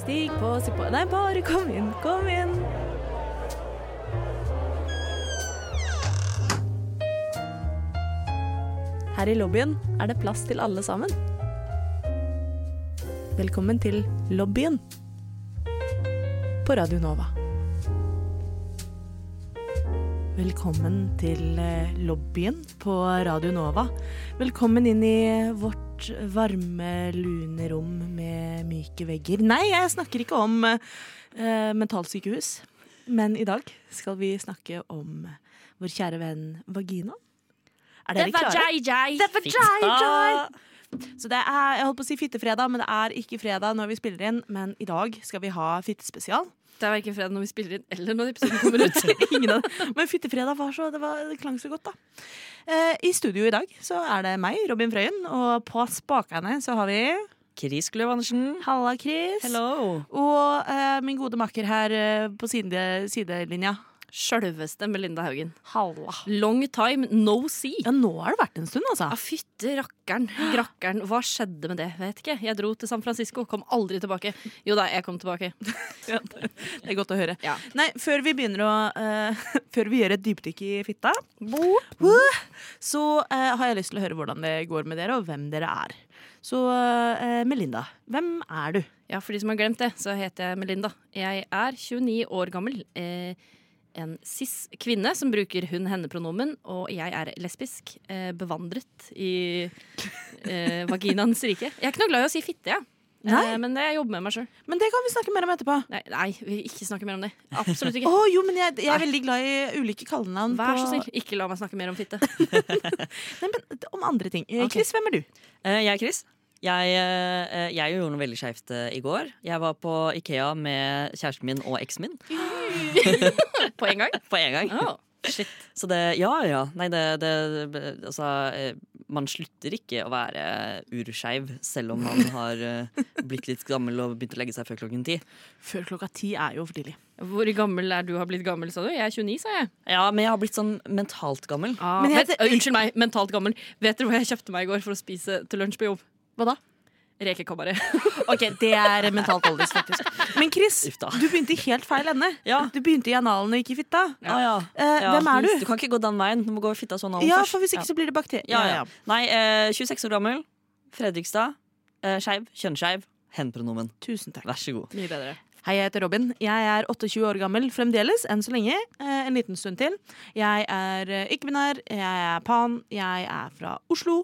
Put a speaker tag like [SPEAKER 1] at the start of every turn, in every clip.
[SPEAKER 1] Stig på, stig på Nei, bare kom inn, kom inn. Her i lobbyen er det plass til alle sammen. Velkommen til lobbyen på Radio Nova. Velkommen til eh, lobbyen på Radio Nova. Velkommen inn i vårt varme, lune rom med myke vegger. Nei, jeg snakker ikke om eh, mentalsykehus, men i dag skal vi snakke om vår kjære venn vagina. Er dere klare?
[SPEAKER 2] JJ.
[SPEAKER 1] Det er for jai, jai. Så det er, jeg holdt på å si fittefredag, men det er ikke fredag når vi spiller inn. Men i dag skal vi ha fittespesial.
[SPEAKER 2] Det er verken fredag når vi spiller inn, eller når episoden kommer ut.
[SPEAKER 1] Ingen av det. Men Fyttefredag var så, det, var, det klang så godt, da. Eh, I studio i dag så er det meg, Robin Frøyen, og på spakene så har vi
[SPEAKER 3] Chris Gløv Andersen.
[SPEAKER 1] Halla, Chris.
[SPEAKER 3] Hello.
[SPEAKER 1] Og eh, min gode makker her eh, på side, sidelinja.
[SPEAKER 2] Sjølveste Melinda Haugen.
[SPEAKER 1] Halla.
[SPEAKER 2] Long time, no see.
[SPEAKER 1] Ja, nå har det vært en stund, altså.
[SPEAKER 2] Ja, fytte rakkeren. Grakkeren. Hva skjedde med det? Vet ikke. Jeg dro til San Francisco, kom aldri tilbake. Jo da, jeg kom tilbake.
[SPEAKER 1] Det er godt å høre.
[SPEAKER 2] Ja.
[SPEAKER 1] Nei, før vi begynner å eh, Før vi gjør et dypdykk i fitta, så eh, har jeg lyst til å høre hvordan det går med dere, og hvem dere er. Så eh, Melinda, hvem er du?
[SPEAKER 2] Ja, for de som har glemt det, så heter jeg Melinda. Jeg er 29 år gammel. Eh, en cis-kvinne som bruker hun-henne-pronomen, og jeg er lesbisk. Eh, bevandret i eh, vaginaens rike. Jeg er ikke noe glad i å si fitte, jeg.
[SPEAKER 1] Nei.
[SPEAKER 2] Eh, men det jeg jobber med meg sjøl.
[SPEAKER 1] Men det kan vi snakke mer om etterpå.
[SPEAKER 2] Nei, nei, vi ikke snakke mer om det. Absolutt
[SPEAKER 1] Å
[SPEAKER 2] ikke.
[SPEAKER 1] jo, men jeg, jeg er veldig glad i ulike kallenavn.
[SPEAKER 2] Vær så
[SPEAKER 1] på-
[SPEAKER 2] snill, ikke la meg snakke mer om fitte.
[SPEAKER 1] Nei, men Om andre ting. Eh,
[SPEAKER 2] Ok.
[SPEAKER 1] Chris, hvem er du?
[SPEAKER 3] Eh, jeg er Chris. Jeg, eh, eh, jeg gjorde noe veldig skeivt eh, i går. Jeg var på Ikea med kjæresten min og eksen min
[SPEAKER 2] På en gang.
[SPEAKER 3] på en gang.
[SPEAKER 2] Å, shit.
[SPEAKER 3] Så det Ja, ja. Nei, det, det Altså, eh, man slutter ikke å være urskeiv selv om man har eh, blitt litt gammel og begynt å legge seg før klokken ti.
[SPEAKER 1] Før klokka ti er jo for tidlig.
[SPEAKER 2] Hvor gammel er du har blitt gammel, sa du? Jeg er 29, sa jeg.
[SPEAKER 3] Ja, men jeg har blitt sånn mentalt gammel.
[SPEAKER 2] Ah,
[SPEAKER 1] Men jeg
[SPEAKER 2] vet,
[SPEAKER 1] heter-
[SPEAKER 2] unnskyld meg, mentalt gammel. Vet dere hva jeg kjøpte meg i går for å spise til lunsj på jobb?
[SPEAKER 1] Hva da?
[SPEAKER 2] Rekekabaret.
[SPEAKER 1] Ok, Det er mentalt oldis, faktisk. Men Chris,
[SPEAKER 3] Uff da.
[SPEAKER 1] du begynte i helt feil ende.
[SPEAKER 3] Ja.
[SPEAKER 1] Du begynte i analen og ikke i fitta.
[SPEAKER 3] Ja. Ah, ja.
[SPEAKER 1] Eh,
[SPEAKER 3] Ja.
[SPEAKER 1] hvem er du?
[SPEAKER 3] Du kan ikke gå den veien. Du må gå fitta sånn av
[SPEAKER 1] Ja,
[SPEAKER 3] først.
[SPEAKER 1] for hvis ikke så blir det bakterier.
[SPEAKER 3] Ja, ja. Nei, eh, 26 år gammel. Fredrikstad. Eh, skeiv. Kjønnsskeiv. Hen-pronomen.
[SPEAKER 1] Tusen takk.
[SPEAKER 3] Vær så god.
[SPEAKER 2] Mye bedre.
[SPEAKER 1] Hei, jeg heter Robin. Jeg er 28 år gammel fremdeles, enn så lenge. Eh, en liten stund til. Jeg er eh, ikke-binær, jeg er pan, jeg er fra Oslo.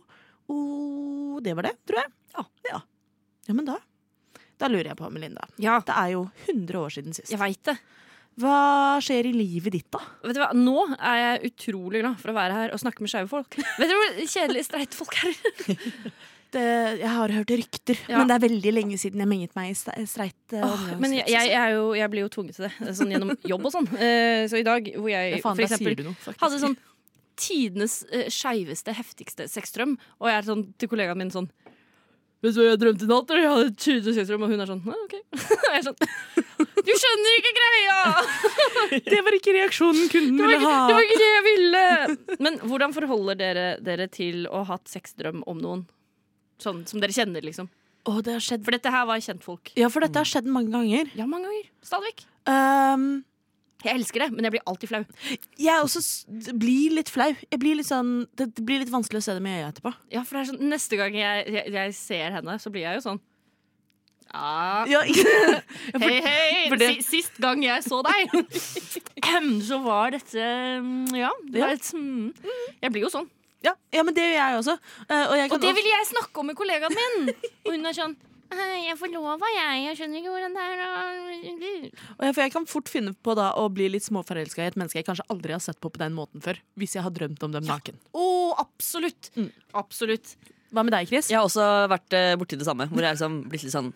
[SPEAKER 1] Og det var det, tror jeg. Ja. ja. Ja, men da Da lurer jeg på, Melinda.
[SPEAKER 2] Ja,
[SPEAKER 1] Det er jo 100 år siden sist.
[SPEAKER 2] jeg veit det.
[SPEAKER 1] Hva skjer i livet ditt, da?
[SPEAKER 2] Vet du hva? Nå er jeg utrolig glad for å være her og snakke med skeive folk. Vet dere hvor kjedelig streite folk er?
[SPEAKER 1] Det, jeg har hørt rykter,
[SPEAKER 2] Ja.
[SPEAKER 1] men det er veldig lenge siden jeg menget meg i ste- streit eh, omgangskrets.
[SPEAKER 2] Men jeg, jeg, er jo, jeg blir jo tvunget til det, sånn gjennom jobb og sånn. Eh, Så i dag hvor jeg
[SPEAKER 1] ja, faen,
[SPEAKER 2] for
[SPEAKER 1] der sier
[SPEAKER 2] eksempel
[SPEAKER 1] du noe, faktisk.
[SPEAKER 2] hadde sånn tidenes eh, skeiveste, heftigste sexdrøm, og jeg er sånn til kollegaen min sånn Vet du hva jeg drømte i natt? eller? Jeg hadde et tydelig sexdrøm, og hun er sånn «Nei, OK. Og jeg er sånn Du skjønner ikke greia!
[SPEAKER 1] Det var ikke reaksjonen kunden ville
[SPEAKER 2] Det var, ikke,
[SPEAKER 1] ha.
[SPEAKER 2] det var ikke det jeg ville! Men hvordan forholder dere dere til å ha hatt sexdrøm om noen? Sånn som dere kjenner, liksom.
[SPEAKER 1] Å, det har skjedd
[SPEAKER 2] For dette her var kjentfolk.
[SPEAKER 1] Ja, for dette har skjedd mange ganger.
[SPEAKER 2] Ja, mange ganger. Stadig vekk.
[SPEAKER 1] Um,
[SPEAKER 2] Jeg elsker det, men jeg blir alltid flau.
[SPEAKER 1] Jeg også s- blir litt flau. Jeg blir litt sånn, det det blir litt vanskelig å se dem i øya etterpå.
[SPEAKER 2] Ja, for det er sånn, Neste gang jeg, jeg, jeg ser henne, så blir jeg jo sånn ja.
[SPEAKER 1] Ja, ikke-
[SPEAKER 2] Hei, hei!
[SPEAKER 1] for det-
[SPEAKER 2] Si- Sist gang jeg så deg, så var dette mm, Ja. Det
[SPEAKER 1] Ja.
[SPEAKER 2] var et, mm, jeg blir jo sånn.
[SPEAKER 1] ja, ja, men det gjør jeg også. Eh, Og jeg kan
[SPEAKER 2] Og det
[SPEAKER 1] også-
[SPEAKER 2] ville jeg snakke om med kollegaen min! Og hun er sånn «Hei, jeg forlova, jeg. Jeg skjønner ikke hvordan det er å-
[SPEAKER 1] og jeg, for jeg kan fort finne på da, å bli litt småforelska i et menneske jeg kanskje aldri har sett på på den måten før. Hvis jeg har drømt om dem naken.
[SPEAKER 2] Å, absolutt!
[SPEAKER 1] Mm.
[SPEAKER 2] Absolutt.
[SPEAKER 1] Hva med deg, Chris?
[SPEAKER 3] Jeg har også vært eh, borti det samme. Hvor jeg liksom blitt litt sånn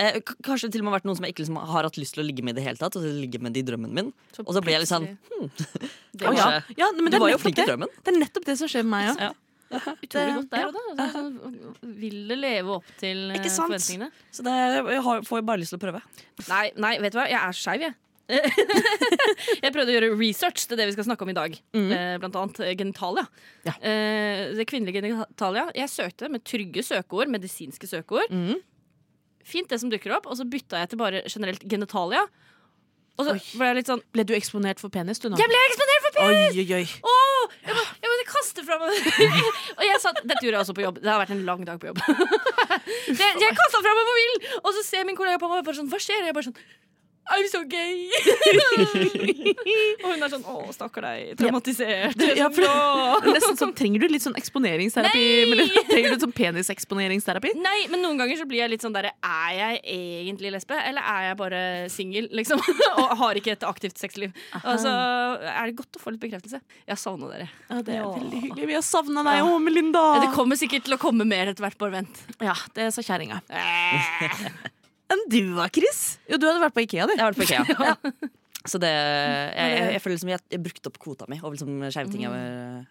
[SPEAKER 3] eh, k- Kanskje til og med vært noen som jeg ikke liksom har hatt lyst til å ligge med i det hele tatt. Og så ligge med det i drømmen min. Og så ble jeg litt sånn
[SPEAKER 2] Det
[SPEAKER 1] Å,
[SPEAKER 2] var
[SPEAKER 1] ja. Ja, men
[SPEAKER 3] Du
[SPEAKER 1] det, er
[SPEAKER 3] var jo
[SPEAKER 1] nettopp
[SPEAKER 3] flink i
[SPEAKER 1] det.
[SPEAKER 3] drømmen.
[SPEAKER 1] det er nettopp det som skjer med meg òg.
[SPEAKER 3] Ja.
[SPEAKER 2] utrolig
[SPEAKER 1] det-
[SPEAKER 2] godt der og da. Så, sånn, vil det leve opp til eh,
[SPEAKER 3] Ikke sant?
[SPEAKER 2] forventningene?
[SPEAKER 3] Så det jeg har, får jeg bare lyst til å prøve.
[SPEAKER 2] Nei, nei, vet du hva? Jeg er skeiv, jeg. jeg prøvde å gjøre research til det vi skal snakke om i dag. Eh, Blant annet eh, genitalia.
[SPEAKER 1] Ja.
[SPEAKER 2] Eh, Det kvinnelige genitalia. Jeg søkte med trygge søkeord, medisinske søkeord. fint, det som dukker opp. Og så bytta jeg til bare generelt genitalia. Og så ble jeg litt sånn
[SPEAKER 1] Ble du eksponert for penis, du nå?
[SPEAKER 2] Jeg ble eksponert for penis!
[SPEAKER 1] Oi, oi, oi.
[SPEAKER 2] Åh, jeg, må, jeg måtte kaste fra meg Og jeg satt, Dette gjorde jeg også på jobb. Det har vært en lang dag på jobb. det, jeg kasta fra meg mobilen, og så ser min kollega på meg og bare sånn Hva skjer? Og jeg bare sånn I'm so gay! og hun er sånn Å, stakkar deg. Traumatisert.
[SPEAKER 1] Ja, for-
[SPEAKER 2] Åh.
[SPEAKER 1] Nesten sånn, Trenger du litt sånn eksponeringsterapi? Eller, trenger du sånn peniseksponeringsterapi?
[SPEAKER 2] Nei, men noen ganger så blir jeg litt sånn derre Er jeg egentlig lesbe, eller er jeg bare singel, liksom? og har ikke et aktivt sexliv. Og så er det godt å få litt bekreftelse. Jeg savna dere.
[SPEAKER 1] Ja, det er veldig hyggelig. Vi har savna deg òg, Melinda.
[SPEAKER 2] Ja, Det kommer sikkert til å komme mer etter hvert, bare vent.
[SPEAKER 1] Ja, det sa kjerringa.
[SPEAKER 2] Eh.
[SPEAKER 1] Enn du da, Chris? Jo, du hadde vært på Ikea, du.
[SPEAKER 3] Jeg har vært på IKEA. Så det, jeg, jeg, jeg føler liksom jeg, jeg brukte opp kvota mi over liksom skeive ting jeg,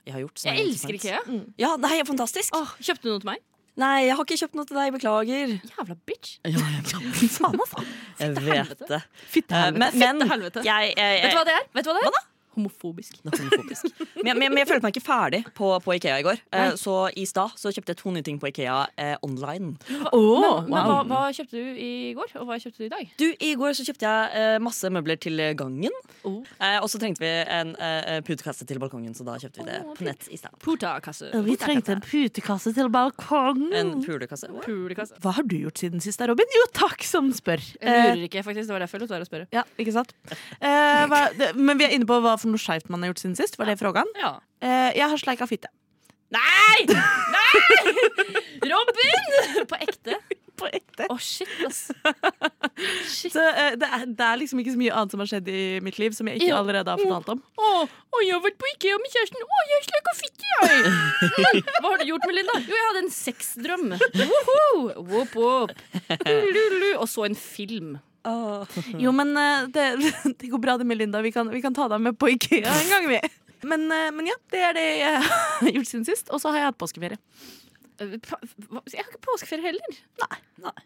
[SPEAKER 3] jeg har gjort. som
[SPEAKER 2] Jeg
[SPEAKER 3] er
[SPEAKER 2] elsker
[SPEAKER 3] interessant.
[SPEAKER 1] Mm.
[SPEAKER 2] IKEA.
[SPEAKER 3] Ja, nei, jeg er fantastisk.
[SPEAKER 2] Åh, kjøpte du noe til meg?
[SPEAKER 3] Nei, jeg har ikke kjøpt noe til deg. Beklager.
[SPEAKER 2] Jævla bitch.
[SPEAKER 3] Ja, jeg,
[SPEAKER 1] Faen, altså.
[SPEAKER 3] jeg vet
[SPEAKER 2] helvete.
[SPEAKER 3] det.
[SPEAKER 1] Fitte
[SPEAKER 3] Eh,
[SPEAKER 1] helvete.
[SPEAKER 3] Men, men jeg,
[SPEAKER 2] helvete.
[SPEAKER 3] jeg,
[SPEAKER 2] Vet
[SPEAKER 1] Eh,
[SPEAKER 3] jeg,
[SPEAKER 2] du hva det er? Vet du hva det er? Homofobisk.
[SPEAKER 3] Det er homofobisk. Men, jeg- men, jeg- men jeg følte meg ikke ferdig på, på Ikea i går. Eh, Så i stad så kjøpte jeg to nye ting på Ikea eh, online.
[SPEAKER 1] Åh,
[SPEAKER 2] Men hva,
[SPEAKER 1] wow.
[SPEAKER 2] hva kjøpte du i går, og hva kjøpte du i dag?
[SPEAKER 3] Du, I går så kjøpte jeg eh, masse møbler til gangen.
[SPEAKER 2] Oh.
[SPEAKER 3] Eh, og så trengte vi en eh, putekasse til balkongen, så da kjøpte vi det
[SPEAKER 2] Åh,
[SPEAKER 3] på nett i stad.
[SPEAKER 2] Portakasse.
[SPEAKER 1] Vi trengte en putekasse til
[SPEAKER 3] En
[SPEAKER 1] balkongen.
[SPEAKER 3] pulekasse.
[SPEAKER 2] Pulekasse.
[SPEAKER 1] Hva har du gjort siden sist, da, Robin? Jo, takk som spør. Eh,
[SPEAKER 2] Jeg lurer ikke, faktisk. Det var derfor jeg lot være å spørre.
[SPEAKER 1] Ja, ikke sant? Eh, hva, det, men vi er inne på hva for noe skeivt man har gjort siden sist. Var det frågan?
[SPEAKER 2] Ja.
[SPEAKER 1] Eh, jeg har sleika fitte.
[SPEAKER 2] Nei! Nei! Robin! På ekte.
[SPEAKER 1] På ekte.
[SPEAKER 2] Å, shit, ass. Shit.
[SPEAKER 1] Så eh, det, er, det er liksom ikke så mye annet som har skjedd i mitt liv som jeg ikke
[SPEAKER 2] Ja.
[SPEAKER 1] allerede har fortalt om.
[SPEAKER 2] Å, å, jeg har vært på IKEA med kjæresten. Å, jeg slet ikke fitte, jeg. Men, hva har du gjort, Melinda? Jo, jeg hadde en sexdrøm. Woho! Whoop, whoop. Lulu. Og så en film.
[SPEAKER 1] Jo, men eh, det, det går bra det med Linda. Vi kan, vi kan ta deg med på Ikea en gang, vi. Men, eh, men ja, det er det jeg har gjort siden sist. Og så har jeg hatt påskeferie.
[SPEAKER 2] Eh, pa- hva- Jeg har ikke påskeferie heller.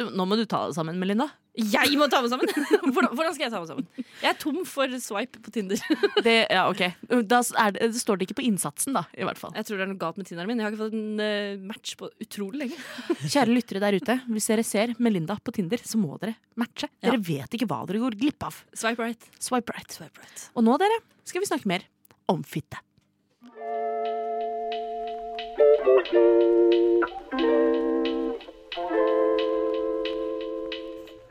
[SPEAKER 1] Du, nå må du ta det sammen, Melinda.
[SPEAKER 2] Jeg må ta meg sammen! Hvordan, hvordan skal jeg ta meg sammen? Jeg er tom for swipe på Tinder.
[SPEAKER 1] Det, ja, ok. Da s- er det, det står det ikke på innsatsen, da. i hvert fall.
[SPEAKER 2] Jeg tror det er noe galt med Tinderen min. Jeg har ikke fått en eh, match på utrolig lenge.
[SPEAKER 1] Kjære lyttere der ute, hvis dere ser Melinda på Tinder, så må dere matche. Dere vet ikke hva dere går glipp av.
[SPEAKER 2] Swipe right.
[SPEAKER 1] Swipe right. Og nå, dere, skal vi snakke mer om fitte.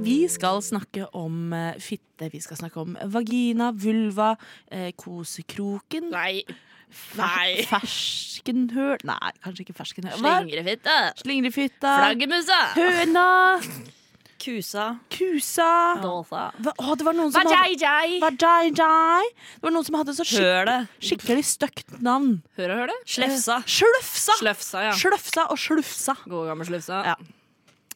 [SPEAKER 1] Vi skal snakke om eh, fitte, vi skal snakke om vagina, vulva, eh, kosekroken,
[SPEAKER 2] Nei.
[SPEAKER 1] fer- ferskenhøl Nei, kanskje ikke ferskenhøl. Hva er-
[SPEAKER 2] Slingrefitte.
[SPEAKER 1] Slingrefitta,
[SPEAKER 2] Flaggermusa.
[SPEAKER 1] høna,
[SPEAKER 3] Kusa.
[SPEAKER 1] kusa
[SPEAKER 2] Dåsa.
[SPEAKER 1] Hva, å, det var noen som hadde
[SPEAKER 2] Vajajaj.
[SPEAKER 1] Vajai Jai. Det var noen som hadde så skik
[SPEAKER 3] Hølet.
[SPEAKER 1] skikkelig støkt navn.
[SPEAKER 2] Hør og hør det.
[SPEAKER 3] Slefsa.
[SPEAKER 1] Sløfsa!
[SPEAKER 2] Sløfsa, ja.
[SPEAKER 1] Sløfsa og slufsa.
[SPEAKER 2] God gammel slufsa.
[SPEAKER 1] Ja.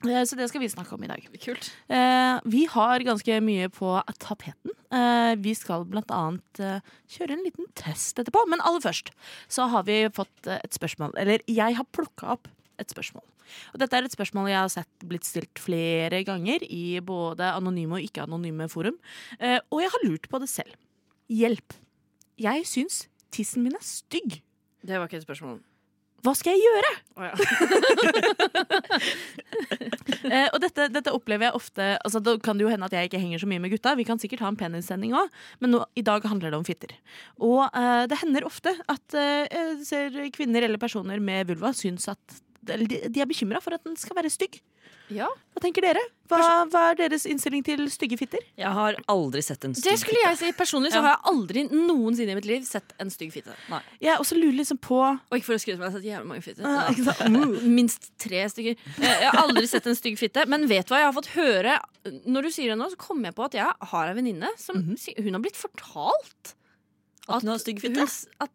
[SPEAKER 1] Eh, Så det skal vi snakke om i dag.
[SPEAKER 2] Kult.
[SPEAKER 1] Eh, Vi har ganske mye på tapeten. Eh, Vi skal blant annet eh, kjøre en liten test etterpå. Men aller først så har vi fått eh, et spørsmål. Eller jeg har plukka opp et spørsmål. Og dette er et spørsmål jeg har sett blitt stilt flere ganger i både anonyme og ikke-anonyme forum. Eh, Og jeg har lurt på det selv. Hjelp. Jeg syns tissen min er stygg.
[SPEAKER 2] Det var ikke et spørsmål.
[SPEAKER 1] Hva skal jeg gjøre?
[SPEAKER 2] Å, ja.
[SPEAKER 1] Eh, og dette, dette opplever jeg ofte altså, Da kan det jo hende at jeg ikke henger så mye med gutta. Vi kan sikkert ha en penissending òg, men nå, i dag handler det om fitter. Og eh, det hender ofte at eh, jeg ser kvinner eller personer med vulva syns at eller de, de er bekymra for at den skal være stygg.
[SPEAKER 2] ja.
[SPEAKER 1] Hva tenker dere? Hva, hva er deres innstilling til stygge fitter?
[SPEAKER 3] Jeg har
[SPEAKER 1] Eh.
[SPEAKER 3] aldri sett en
[SPEAKER 2] Det
[SPEAKER 3] stygg
[SPEAKER 2] skulle jeg si. Personlig så har jeg aldri noensinne i mitt liv sett en stygg fitte.
[SPEAKER 1] Jeg også lurer liksom på
[SPEAKER 2] Og ikke for å skryte, men jeg har sett jævlig mange fitter. Mm,
[SPEAKER 1] eh, ikke sant?
[SPEAKER 2] Minst tre stykker. Eh, Jeg har aldri sett en stygg fitte, men vet du hva jeg har fått høre? Når du sier det nå, så kommer jeg på at jeg har ei venninne som
[SPEAKER 1] Mhm.
[SPEAKER 2] si- Hun har blitt fortalt
[SPEAKER 3] At hun har stygg fitte?
[SPEAKER 2] hun s- at-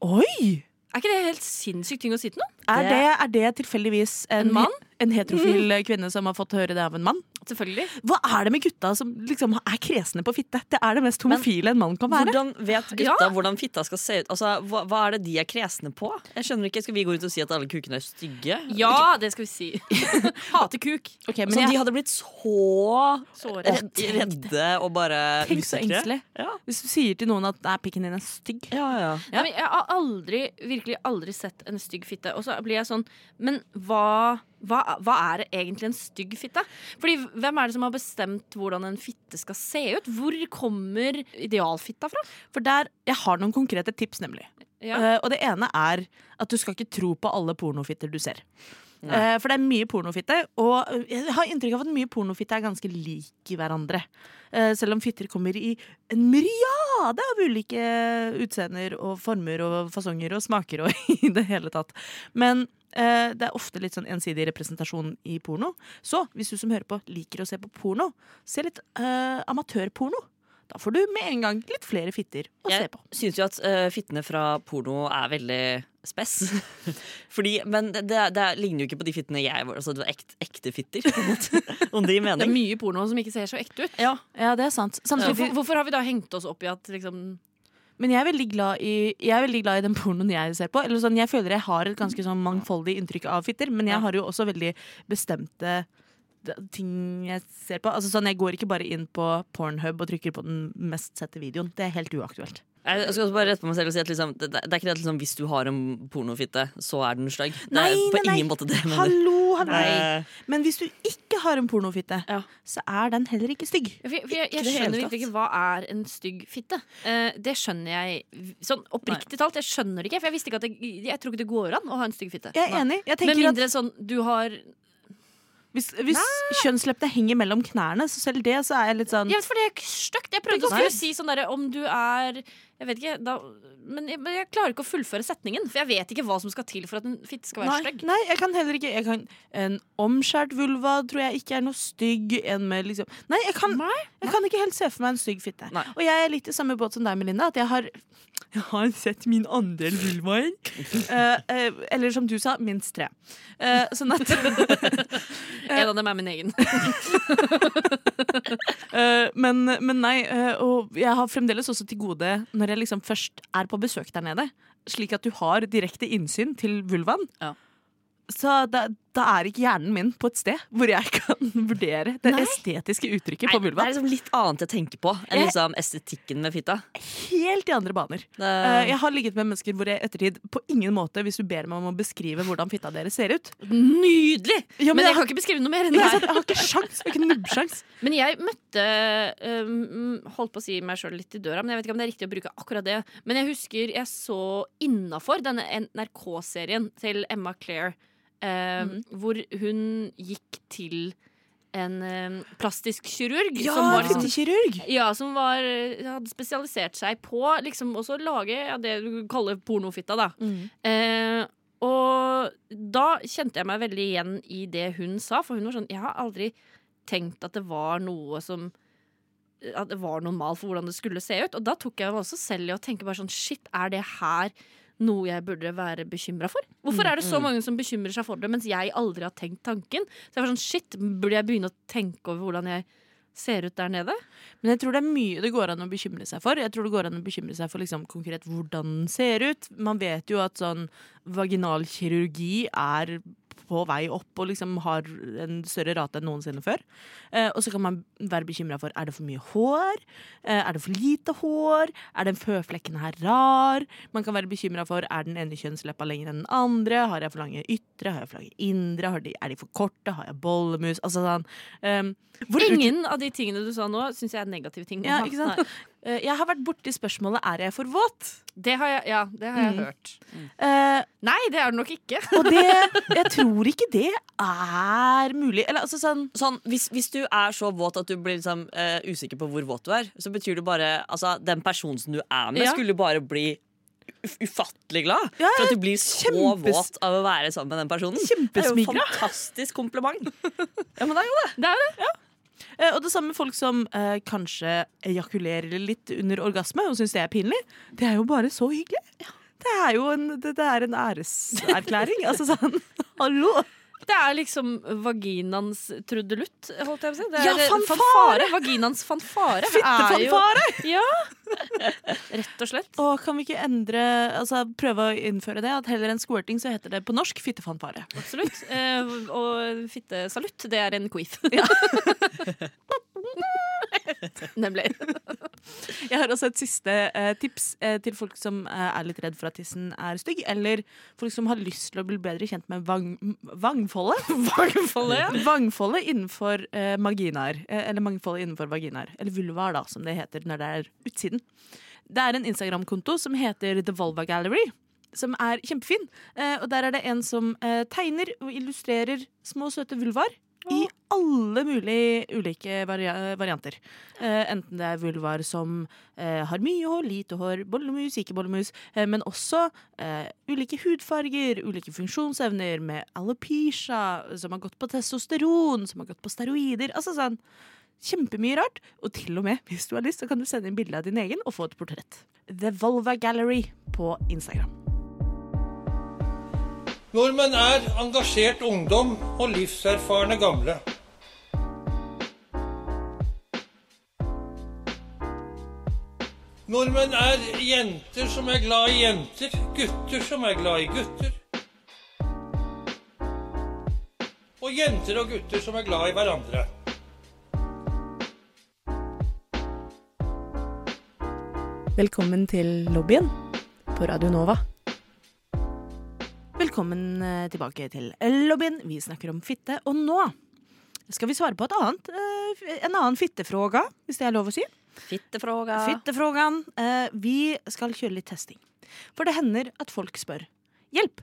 [SPEAKER 1] Oi!
[SPEAKER 2] Er ikke det helt sinnssykt ting å si til noen?
[SPEAKER 1] Er det, er det tilfeldigvis en,
[SPEAKER 2] En mann?
[SPEAKER 1] en heterofil kvinne som har fått høre det av en mann.
[SPEAKER 2] Selvfølgelig.
[SPEAKER 1] Hva er det med gutta som liksom er kresne på fitte? Det er det mest homofile en mann kan være.
[SPEAKER 3] Hvordan vet gutta hvordan fitta skal se ut? Altså, hva, hva er det de er kresne på? Jeg skjønner ikke, Skal vi gå rundt og si at alle kukene er stygge?
[SPEAKER 2] Ja, det skal vi si. Hate kuk.
[SPEAKER 1] Ok, men
[SPEAKER 3] Som
[SPEAKER 1] jeg-
[SPEAKER 3] de hadde blitt så
[SPEAKER 2] Såret.
[SPEAKER 3] redd- redde og bare
[SPEAKER 1] Tenk så
[SPEAKER 3] usikre.
[SPEAKER 1] engstelig.
[SPEAKER 3] Ja.
[SPEAKER 1] Hvis du sier til noen at nei, pikken din er stygg
[SPEAKER 3] Ja, ja.
[SPEAKER 2] Nei, men jeg har aldri, virkelig aldri sett en stygg fitte. Og så blir jeg sånn Men hva, hva, hva er det egentlig en stygg fitte? Fordi hvem er det som har bestemt hvordan en fitte skal se ut? Hvor kommer idealfitta fra?
[SPEAKER 1] For der, jeg har noen konkrete tips, nemlig.
[SPEAKER 2] Ja.
[SPEAKER 1] Eh, og det ene er at du skal ikke tro på alle pornofitter du ser.
[SPEAKER 3] Nei.
[SPEAKER 1] Eh, for det er mye pornofitte, og eh, jeg har inntrykk av at mye pornofitte er ganske lik i hverandre. Eh, selv om fitter kommer i en myriade av ulike utseender og former og fasonger og smaker og i det hele tatt. Men eh, det er ofte litt sånn ensidig representasjon i porno. Så hvis du som hører på liker å se på porno, se litt eh, amatørporno. Da får du med en gang litt flere fitter å
[SPEAKER 3] Jeg
[SPEAKER 1] se på.
[SPEAKER 3] syns jo at eh, fittene fra porno er veldig spess. Fordi, men det, det, det ligner jo ikke på de fittene jeg var. Altså, det var ekte, ekte fitter. på en måte. Om det gir
[SPEAKER 2] Det er
[SPEAKER 3] mening.
[SPEAKER 2] mye porno som ikke ser så ekte ut.
[SPEAKER 1] Ja, det er sant.
[SPEAKER 2] Så
[SPEAKER 1] Samtidig,
[SPEAKER 2] hvorfor, hvorfor har vi da hengt oss opp i at liksom
[SPEAKER 1] Men jeg er, veldig glad i, jeg er veldig glad i den pornoen jeg ser på. Eller sånn, jeg føler jeg har et ganske sånn mangfoldig inntrykk av fitter, men jeg
[SPEAKER 3] Ja.
[SPEAKER 1] har jo også veldig bestemte d- ting jeg ser på. Altså sånn, Jeg går ikke bare inn på Pornhub og trykker på den mest sette videoen. Det er helt uaktuelt.
[SPEAKER 3] Jeg jeg skal også bare rette på meg selv og si at liksom, det, det er ikke det at liksom, hvis du har en pornofitte, så er den stygg. Det er på ingen måte det jeg mener. Eh,
[SPEAKER 1] Hallo, hallo.
[SPEAKER 3] Nei.
[SPEAKER 1] Men hvis du ikke har en pornofitte,
[SPEAKER 2] Ja.
[SPEAKER 1] så er den heller ikke stygg.
[SPEAKER 2] For jeg, for jeg, jeg
[SPEAKER 3] det hele
[SPEAKER 2] skjønner virkelig
[SPEAKER 3] tatt.
[SPEAKER 2] ikke hva er en stygg fitte. Eh, det skjønner jeg v- sånn oppriktig talt. Jeg skjønner det ikke, for jeg visste ikke at det, jeg tror ikke det går an å ha en stygg fitte.
[SPEAKER 1] Jeg er enig. Jeg
[SPEAKER 2] Med
[SPEAKER 1] tenker at
[SPEAKER 2] mindre sånn du har
[SPEAKER 1] Hvis, hvis kjønnsleppene henger mellom knærne, så selv det så er jeg litt sånn
[SPEAKER 2] Ja, for det er ikke stygt. Jeg prøvde å skulle si sånn derre om du er Jeg vet ikke, da men jeg, men jeg klarer ikke å fullføre setningen. For jeg vet ikke hva som skal til for at en fitte skal være
[SPEAKER 1] Nei,
[SPEAKER 2] stygg.
[SPEAKER 1] nei, jeg kan heller ikke jeg kan, En omskjært vulva tror jeg ikke er noe stygg. En med liksom Nei, jeg kan, jeg kan ikke helt se for meg en stygg fitte.
[SPEAKER 3] Nei.
[SPEAKER 1] Og jeg er litt i samme båt som deg, Melinda. At jeg har, jeg har sett min andel vulvaer. Eh, eh, eller som du sa, minst tre. Eh, sånn at
[SPEAKER 2] En av dem er min egen.
[SPEAKER 1] Eh, men, men nei, eh, og jeg har fremdeles også til gode når jeg liksom først er på besøk der nede, slik at du har direkte innsyn til vulvaen.
[SPEAKER 3] Ja.
[SPEAKER 1] Så da, da er ikke hjernen min på et sted hvor jeg kan vurdere det estetiske uttrykket på
[SPEAKER 3] Nei, det
[SPEAKER 1] vulvaen.
[SPEAKER 3] er liksom litt annet jeg tenker på enn
[SPEAKER 1] Jeg-
[SPEAKER 3] liksom, estetikken med fitta.
[SPEAKER 1] Helt i andre baner.
[SPEAKER 3] Det,
[SPEAKER 1] Eh, jeg har ligget med mennesker hvor jeg i ettertid på ingen måte, hvis du ber meg om å beskrive hvordan fitta deres ser ut
[SPEAKER 2] Nydelig!
[SPEAKER 1] Ja,
[SPEAKER 2] men,
[SPEAKER 1] men jeg
[SPEAKER 2] jeg kan ikke beskrive noe mer enn det
[SPEAKER 1] Ikke
[SPEAKER 2] her.
[SPEAKER 1] sant? Jeg har ikke sjans, jeg har ikke nubbsjans.
[SPEAKER 2] Men jeg møtte øhm, Holdt på å si meg sjøl litt i døra, men jeg vet ikke om det er riktig å bruke akkurat det. Men jeg husker jeg så innafor denne NRK-serien til Emma Claire, øhm, hvor hun gikk til en øhm, plastisk kirurg
[SPEAKER 1] Ja,
[SPEAKER 2] som var liksom
[SPEAKER 1] fittekirurg!
[SPEAKER 2] ja, som var, hadde spesialisert seg på liksom også å lage ja, det du kaller pornofitta, da.
[SPEAKER 1] Mm.
[SPEAKER 2] Eh, og da kjente jeg meg veldig igjen i det hun sa, for hun var sånn Jeg har aldri tenkt at det var noe som At det var noen mal for hvordan det skulle se ut. Og da tok jeg meg også selv i å tenke bare sånn Shit, er det her noe jeg burde være bekymra for? Hvorfor er det så mange som bekymrer seg for det, mens jeg aldri har tenkt tanken? Så jeg var sånn Shit, burde jeg begynne å tenke over hvordan jeg ser ut der nede?
[SPEAKER 1] Men jeg tror det er mye det går an å bekymre seg for. Jeg tror det går an å bekymre seg for liksom, konkret hvordan den ser ut. Man vet jo at sånn vaginalkirurgi er på vei opp og liksom har en større rate enn noensinne før. Eh, og så kan man være bekymra for er det for mye hår, eh, er det for lite hår, er den føflekken her rar? Man kan være bekymra for er den ene kjønnsleppa lenger enn den andre, har jeg for lange ytre, har jeg for lange indre, har de, er de for korte, har jeg bollemus? Altså sånn. Um, hvor ut-
[SPEAKER 2] Ingen av de tingene du sa nå, syns jeg er negative ting.
[SPEAKER 1] Ja, ikke sant?
[SPEAKER 2] Nei.
[SPEAKER 1] Eh, Jeg har vært borti spørsmålet er jeg for våt.
[SPEAKER 2] Det har jeg, ja, det har jeg hørt.
[SPEAKER 1] Eh,
[SPEAKER 2] Nei, det er det nok ikke.
[SPEAKER 1] Mm. og det, jeg tror ikke det er mulig. Eller altså sånn
[SPEAKER 3] sånn, hvis, hvis du er så våt at du blir liksom, eh, usikker på hvor våt du er, så betyr det bare altså, Den personen som du er med,
[SPEAKER 2] Ja.
[SPEAKER 3] skulle bare bli uf ufattelig glad
[SPEAKER 1] Ja,
[SPEAKER 3] for at du blir så
[SPEAKER 1] kjempes-
[SPEAKER 3] våt av å være sammen med den personen. Det er jo
[SPEAKER 1] kjempesmigra.
[SPEAKER 3] en fantastisk kompliment. ja, men det er jo det.
[SPEAKER 2] Det er jo det.
[SPEAKER 1] Eh, og det samme med folk som eh, kanskje ejakulerer litt under orgasme og syns det er pinlig. Det er jo bare så hyggelig. Det er jo en, det, det er en æreserklæring. altså sånn Hallo!
[SPEAKER 2] Det er liksom vaginaens trudelutt, holdt jeg på å si. Det er
[SPEAKER 1] Ja,
[SPEAKER 2] det-
[SPEAKER 1] fanfare!
[SPEAKER 2] Vaginaens fanfare. er jo-
[SPEAKER 1] Fittefanfare!
[SPEAKER 2] Ja! Rett og slett.
[SPEAKER 1] Og kan vi ikke endre, altså prøve å innføre det? At heller enn squirting så heter det på norsk fittefanfare.
[SPEAKER 2] Absolutt. Eh, og fittesalutt, det er en queef. Nemlig.
[SPEAKER 1] Jeg har også et siste eh, tips eh, til folk som eh, er litt redd for at tissen er stygg, eller folk som har lyst til å bli bedre kjent med vang, vangfoldet. Vangfoldet, ja. Vangfoldet innenfor eh, maginaer. Eh, eller mangfoldet innenfor vaginaer. Eller vulvar, da, som det heter når det er utsiden. Det er en Instagram-konto som heter The Volva Gallery. Som er kjempefin. Eh, og der er det en som eh, tegner og illustrerer små, søte vulvar. I alle mulige ulike varia varianter. Eh, enten det er vulvar som eh, har mye hår, lite hår, bollemus, ikke bollemus. Eh, men også eh, ulike hudfarger, ulike funksjonsevner med alopecia, som har gått på testosteron, som har gått på steroider. Altså sånn kjempemye rart. Og til og med, hvis du har lyst, så kan du sende inn bilde av din egen og få et portrett. The Volva Gallery på Instagram.
[SPEAKER 4] Nordmenn er engasjert ungdom og livserfarne gamle. Nordmenn er jenter som er glad i jenter, gutter som er glad i gutter. Og jenter og gutter som er glad i hverandre.
[SPEAKER 1] Velkommen til lobbyen på Radio Nova. Velkommen eh, tilbake til lobbyen. Vi snakker om fitte, og nå skal vi svare på et annet, eh, en annen fittefråga, hvis det er lov å si.
[SPEAKER 2] Fittefråga.
[SPEAKER 1] Fittefrågan. Eh, Vi skal kjøre litt testing. For det hender at folk spør hjelp.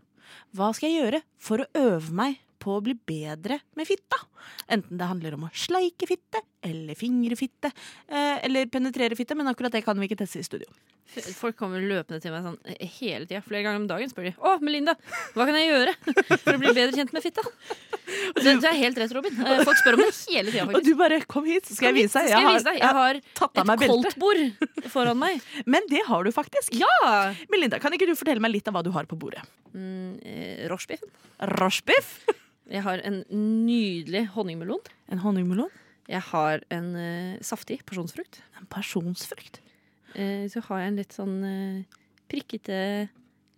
[SPEAKER 1] Hva skal jeg gjøre for å øve meg på å bli bedre med fitta? Enten det handler om å sleike fitte, eller fingre fitte, eh, eller penetrere fitte, men akkurat det kan vi ikke teste i studio.
[SPEAKER 2] Folk kommer løpende til meg sånn eh, hele tida. Flere ganger om dagen spør de Å, Melinda, hva kan jeg gjøre for å bli bedre kjent med fitta. Det, det er helt rett, Robin. Eh, Folk spør om det hele tida,
[SPEAKER 1] Og
[SPEAKER 2] faktisk.
[SPEAKER 1] du bare 'kom hit, så skal jeg vise deg'.
[SPEAKER 2] Skal jeg vise deg? Jeg har
[SPEAKER 1] tatt av meg
[SPEAKER 2] et
[SPEAKER 1] beltet.
[SPEAKER 2] koldtbord foran meg.
[SPEAKER 1] Men det har du faktisk.
[SPEAKER 2] Ja!
[SPEAKER 1] Melinda, kan ikke du fortelle meg litt av hva du har på bordet?
[SPEAKER 2] Mm, eh, Rochebiffen.
[SPEAKER 1] Rochebiff.
[SPEAKER 2] Jeg har en nydelig honningmelon.
[SPEAKER 1] En honningmelon.
[SPEAKER 2] Jeg har en eh, saftig porsjonsfrukt.
[SPEAKER 1] En personsfrukt.
[SPEAKER 2] Eh, så har jeg en litt sånn eh, prikkete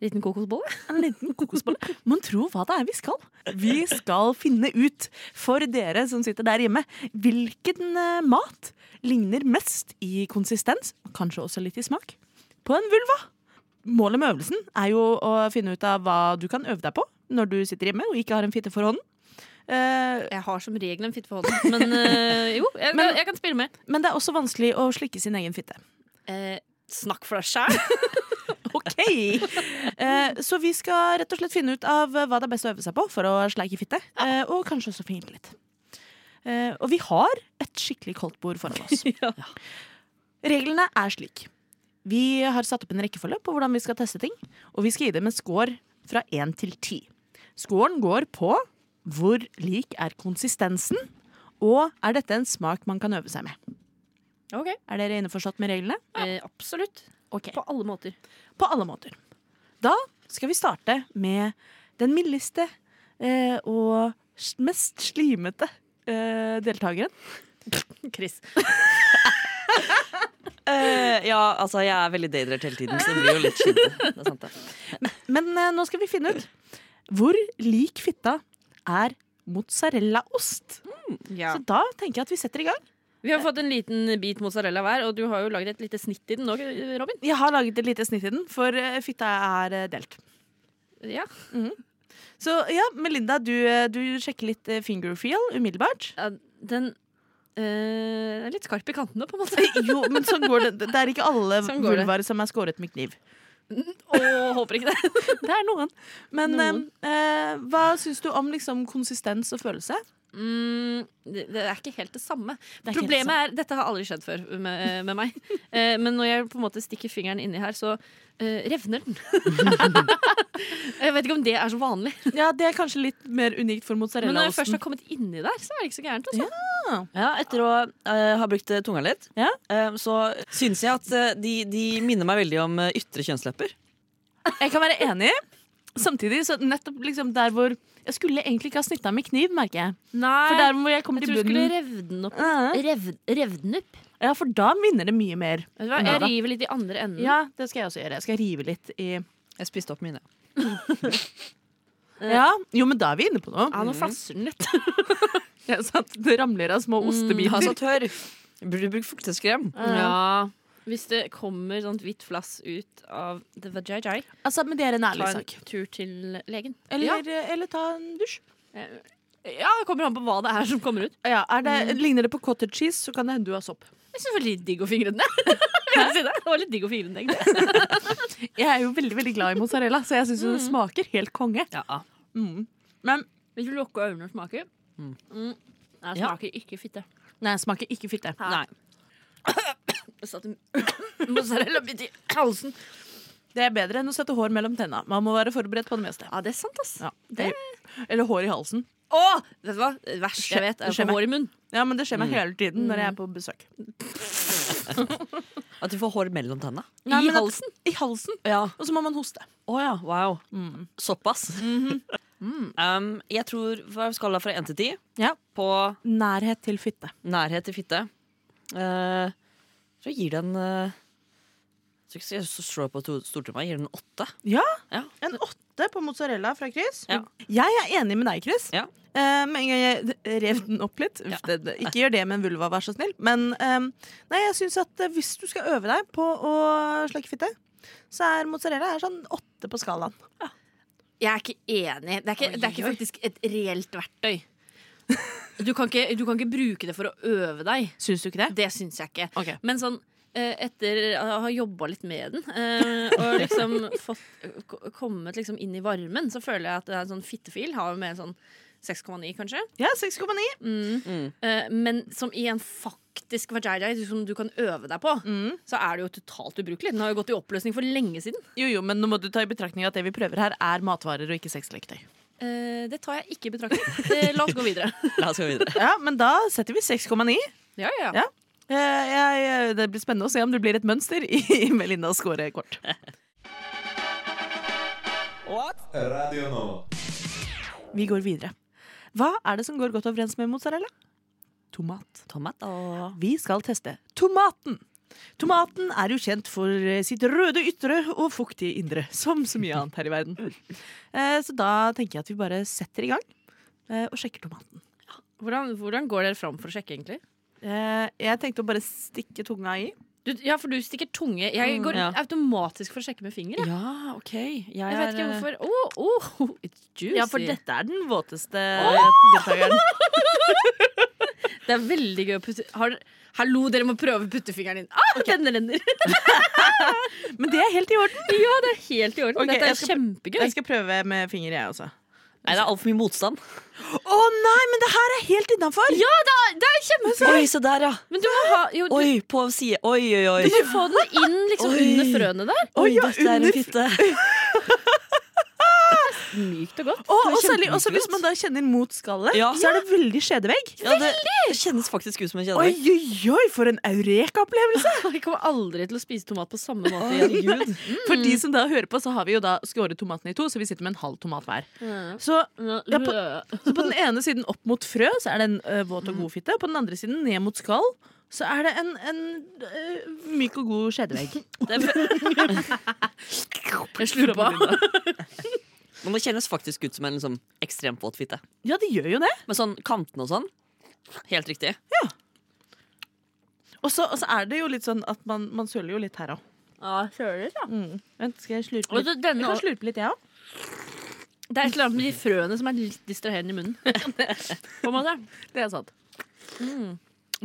[SPEAKER 2] liten kokosbolle.
[SPEAKER 1] En liten kokosbolle. Man tror hva det er vi skal. Vi skal finne ut, for dere som sitter der hjemme, hvilken eh, mat ligner mest i konsistens, og kanskje også litt i smak, på en vulva. Målet med øvelsen er jo å finne ut av hva du kan øve deg på når du sitter hjemme og ikke har en fitte for hånden. Eh,
[SPEAKER 2] Jeg har som regel en fitte for hånden, men eh, jo, jeg,
[SPEAKER 1] Men-
[SPEAKER 2] jeg kan spille med.
[SPEAKER 1] Men det er også vanskelig å slikke sin egen fitte.
[SPEAKER 2] Eh, snakk for deg sjæl.
[SPEAKER 1] Ok! Eh, Så vi skal rett og slett finne ut av eh, hva det er best å øve seg på for å sleike fitte. eh, Og kanskje også fingre litt. Eh, Og vi har et skikkelig koldt bord foran oss.
[SPEAKER 2] Ja.
[SPEAKER 1] Reglene er slik. Vi har satt opp en rekkefølge på hvordan vi skal teste ting. Og vi skal gi dem en score fra 1 til 10. Scoren går på hvor lik er konsistensen, og er dette en smak man kan øve seg med.
[SPEAKER 2] Ok,
[SPEAKER 1] Er dere innforstått med reglene?
[SPEAKER 2] eh, Absolutt.
[SPEAKER 1] Ok.
[SPEAKER 2] På alle måter.
[SPEAKER 1] på alle måter. Da skal vi starte med den mildeste eh, og s- mest slimete eh, deltakeren.
[SPEAKER 2] Chris.
[SPEAKER 3] Eh, ja, altså, jeg er veldig daydreht hele tiden, så det blir jo litt skinte. Det er sant, det.
[SPEAKER 1] Men eh, nå skal vi finne ut hvor lik fitta er mozzarellaost. Så da tenker jeg at vi setter i gang.
[SPEAKER 2] Vi har fått en liten bit mozzarella hver, og du har jo laget et lite snitt i den òg, Robin.
[SPEAKER 1] Jeg har laget et lite snitt i den, for eh, fitta er eh, delt.
[SPEAKER 2] Ja.
[SPEAKER 1] Så ja, Melinda, du, eh, du sjekker litt eh, finger feel umiddelbart.
[SPEAKER 2] Ja, Den eh, er litt skarp i kantene, på en måte.
[SPEAKER 1] Jo, men sånn går det. Det er ikke alle
[SPEAKER 2] Sånn går det.
[SPEAKER 1] vulvaer som er skåret med kniv.
[SPEAKER 2] Og håper ikke det.
[SPEAKER 1] Det er noen. Men
[SPEAKER 2] Noen.
[SPEAKER 1] eh, eh, hva syns du om liksom, konsistens og følelse?
[SPEAKER 2] Mm, det, det er ikke helt det samme.
[SPEAKER 1] Det er ikke helt
[SPEAKER 2] Problemet er, Dette har aldri skjedd før med, med meg. Eh, men når jeg på en måte stikker fingeren inni her, så eh, revner den. jeg vet ikke om det er så vanlig.
[SPEAKER 1] Ja, Det er kanskje litt mer unikt for
[SPEAKER 2] Men når jeg først
[SPEAKER 1] mozzarellaosten.
[SPEAKER 2] har kommet inni der, så er det ikke så gærent. Altså.
[SPEAKER 3] Ja, etter å eh, ha brukt eh, tunga litt,
[SPEAKER 1] Ja.
[SPEAKER 3] eh, så syns jeg at eh, de, de minner meg veldig om eh, ytre kjønnslepper.
[SPEAKER 1] Jeg kan være enig, samtidig, så nettopp liksom der hvor Jeg skulle egentlig ikke ha snytta med kniv, merker jeg.
[SPEAKER 5] Nei,
[SPEAKER 1] For der hvor jeg kommer
[SPEAKER 2] Jeg
[SPEAKER 1] til
[SPEAKER 2] tror du skulle
[SPEAKER 1] bunnen
[SPEAKER 2] revde den opp.
[SPEAKER 1] Ja.
[SPEAKER 5] rev, revden opp.
[SPEAKER 1] Ja, for da minner det mye mer.
[SPEAKER 2] Vet du hva? Jeg river litt i andre enden.
[SPEAKER 1] Ja, det skal jeg også gjøre. Jeg skal rive litt i
[SPEAKER 3] Jeg spiste opp mine.
[SPEAKER 1] Ja, Jo, men da er vi inne på noe.
[SPEAKER 2] Ja, nå flasser den litt.
[SPEAKER 1] Ja, sant? Det ramler av små
[SPEAKER 3] Ha
[SPEAKER 1] ostebiter.
[SPEAKER 3] så tørr. Burde bruke fukteskrem.
[SPEAKER 2] Ja. Hvis det kommer sånt hvitt flass ut av the vajajai,
[SPEAKER 1] Altså, men det er en
[SPEAKER 2] ta
[SPEAKER 1] ærlig
[SPEAKER 2] en
[SPEAKER 1] sak.
[SPEAKER 2] tur til legen.
[SPEAKER 1] Eller, eh, eller ta en dusj.
[SPEAKER 2] Ja, det kommer an på hva det er som kommer ut.
[SPEAKER 1] Ja, er det, Ligner det på cottage cheese, så kan det hende du har sopp.
[SPEAKER 2] Jeg synes det var litt digg å fingre den ned. Kan jeg si det? Det var litt digg å fingre den ned.
[SPEAKER 1] Jeg er jo veldig veldig glad i mozzarella, så jeg syns det smaker helt konge.
[SPEAKER 3] Ja.
[SPEAKER 1] Men
[SPEAKER 2] Hvis du lukker øynene og smaker mm. Nei, det smaker ikke fitte.
[SPEAKER 1] nei, det smaker ikke fitte.
[SPEAKER 3] Nei.
[SPEAKER 2] Jeg satte mozzarella midt i halsen.
[SPEAKER 1] Det er bedre enn å sette hår mellom tenna. Man må være forberedt på det meste.
[SPEAKER 2] Ja, det er sant, ass.
[SPEAKER 1] Ja. Eller hår i halsen.
[SPEAKER 2] Å! Vet du hva? Det verste jeg vet, er å
[SPEAKER 1] Skjer
[SPEAKER 2] få
[SPEAKER 1] meg.
[SPEAKER 2] hår i munnen.
[SPEAKER 1] Ja, men det skjer meg hele tiden når jeg er på besøk.
[SPEAKER 3] At du får hår mellom tenna.
[SPEAKER 1] Nei,
[SPEAKER 2] I
[SPEAKER 1] men at-
[SPEAKER 2] halsen.
[SPEAKER 1] I halsen. Og så må man hoste.
[SPEAKER 3] Å ja, wow.
[SPEAKER 1] Mm.
[SPEAKER 3] Såpass.
[SPEAKER 1] Mhm.
[SPEAKER 3] um, jeg tror fra skala fra 1 til 10
[SPEAKER 1] Ja.
[SPEAKER 3] på
[SPEAKER 1] Nærhet til fitte.
[SPEAKER 3] nærhet til fitte uh, Så jeg gir den uh, så jeg skal slå på to- stortromma. Jeg Gir den 8.
[SPEAKER 1] Ja.
[SPEAKER 3] Ja.
[SPEAKER 1] En åtte på mozzarella fra Chris.
[SPEAKER 3] Ja.
[SPEAKER 1] Jeg er enig med deg, Chris.
[SPEAKER 3] Ja.
[SPEAKER 1] Eh, men jeg jeg rev den opp litt. Uff, det, det, ikke gjør det med en vulva, vær så snill. Men eh, nei, jeg syns at eh, hvis du skal øve deg på å slakke fitte, så er mozzarella er sånn åtte på skalaen.
[SPEAKER 2] Jeg er ikke enig. Det er ikke, det er ikke faktisk et reelt verktøy. Du kan, ikke, du kan ikke bruke det for å øve deg.
[SPEAKER 1] Syns du ikke det?
[SPEAKER 2] Det syns jeg ikke.
[SPEAKER 1] Ok.
[SPEAKER 2] Men sånn eh, etter å ha jobba litt med den, eh, og liksom fått k- kommet liksom inn i varmen, så føler jeg at det er en sånn fittefil har jo med sånn 6,9, kanskje.
[SPEAKER 1] Ja, 6,9.
[SPEAKER 2] Eh, Men som i en faktisk vajayjay som du kan øve deg på, så er det jo totalt ubrukelig. Den har jo gått i oppløsning for lenge siden.
[SPEAKER 1] Jo, jo, men nå må du ta i betraktning at det vi prøver her, er matvarer og ikke sexleketøy.
[SPEAKER 2] Eh, Det tar jeg ikke i betraktning. Eh, La oss gå videre.
[SPEAKER 3] La oss gå videre.
[SPEAKER 1] Ja, men da setter vi 6,9.
[SPEAKER 2] Ja, ja.
[SPEAKER 1] Ja. Eh, jeg- Det blir spennende å se om det blir et mønster i Melinda score kort.
[SPEAKER 6] Radio Nova.
[SPEAKER 1] Vi går videre. Hva er det som går godt overens med mozzarella? Tomat.
[SPEAKER 3] Tomat og
[SPEAKER 1] Vi skal teste tomaten. Tomaten er jo kjent for eh, sitt røde ytre og fuktige indre, som så mye annet her i verden. Eh, Så da tenker jeg at vi bare setter i gang eh, og sjekker tomaten.
[SPEAKER 2] Hvordan, hvordan går dere fram for å sjekke, egentlig?
[SPEAKER 1] Eh, Jeg tenkte å bare stikke tunga i.
[SPEAKER 2] Du, ja, for du stikker tunge. Jeg går
[SPEAKER 3] ja.
[SPEAKER 2] automatisk for å sjekke med finger. jeg.
[SPEAKER 3] Ja, OK. Jeg,
[SPEAKER 2] Jeg vet
[SPEAKER 3] er,
[SPEAKER 2] ikke hvorfor. Oh, oh, it's juicy.
[SPEAKER 1] eh, Ja, for dette er den våteste deltakeren.
[SPEAKER 2] Det er veldig gøy å putte Har, Hallo, dere må prøve å putte fingeren inn. Ah, Den renner!
[SPEAKER 1] Men det er helt i orden.
[SPEAKER 2] ja, det er helt i orden.
[SPEAKER 1] Ok,
[SPEAKER 2] dette
[SPEAKER 1] jeg
[SPEAKER 2] er
[SPEAKER 1] skal-
[SPEAKER 2] kjempegøy.
[SPEAKER 1] Jeg skal prøve med finger, jeg også.
[SPEAKER 3] Nei, det er altfor mye motstand.
[SPEAKER 1] Å nei, men det her er helt innafor!
[SPEAKER 2] Ja, det er, det er kjempe...
[SPEAKER 3] Oi, se der, ja.
[SPEAKER 2] Men du må ha jo, du,
[SPEAKER 3] Oi, på side. Oi, oi,
[SPEAKER 2] du
[SPEAKER 3] oi.
[SPEAKER 2] må få den inn liksom
[SPEAKER 3] Oi.
[SPEAKER 2] under frøene der.
[SPEAKER 1] Oi, ja,
[SPEAKER 3] dette er
[SPEAKER 1] under-
[SPEAKER 3] en fitte.
[SPEAKER 2] Mykt og godt.
[SPEAKER 1] Og,
[SPEAKER 3] Det er
[SPEAKER 1] og særlig også hvis
[SPEAKER 3] kjempegodt.
[SPEAKER 1] man da kjenner mot skallet,
[SPEAKER 3] Ja.
[SPEAKER 1] så er det veldig skjedevegg.
[SPEAKER 3] Ja, det kjennes faktisk ut som en
[SPEAKER 1] Oi,
[SPEAKER 3] kjede.
[SPEAKER 1] oi, oi, for en eureka-opplevelse!
[SPEAKER 2] Jeg kommer aldri til å spise tomat på samme måte igjen.
[SPEAKER 3] Herregud.
[SPEAKER 1] For de som da hører på, så har vi jo da skåret tomatene i to, så vi sitter med en halv tomat hver. Så, Ja, så på den ene siden opp mot frø, så er det en ø, våt og god fitte. Og på den andre siden ned mot skall, så er det en, en ø, myk og god skjedevegg.
[SPEAKER 2] Jeg slurpa.
[SPEAKER 3] Men det kjennes faktisk ut som en liksom, ekstremt våt fitte.
[SPEAKER 1] Ja, det gjør jo det.
[SPEAKER 3] Med sånn kantene og sånn. Helt riktig.
[SPEAKER 1] Og så, og så er det jo litt sånn at man, man søler jo litt her òg.
[SPEAKER 2] Ja, kjører ja.
[SPEAKER 1] Mm. Vent, skal jeg slurpe
[SPEAKER 2] Og
[SPEAKER 1] litt?
[SPEAKER 2] så denne-
[SPEAKER 1] Jeg kan slurpe litt, jeg ja. òg.
[SPEAKER 2] Det er et eller annet med de frøene som er litt distraherende i munnen. På en måte. Mm.
[SPEAKER 1] Det er sant.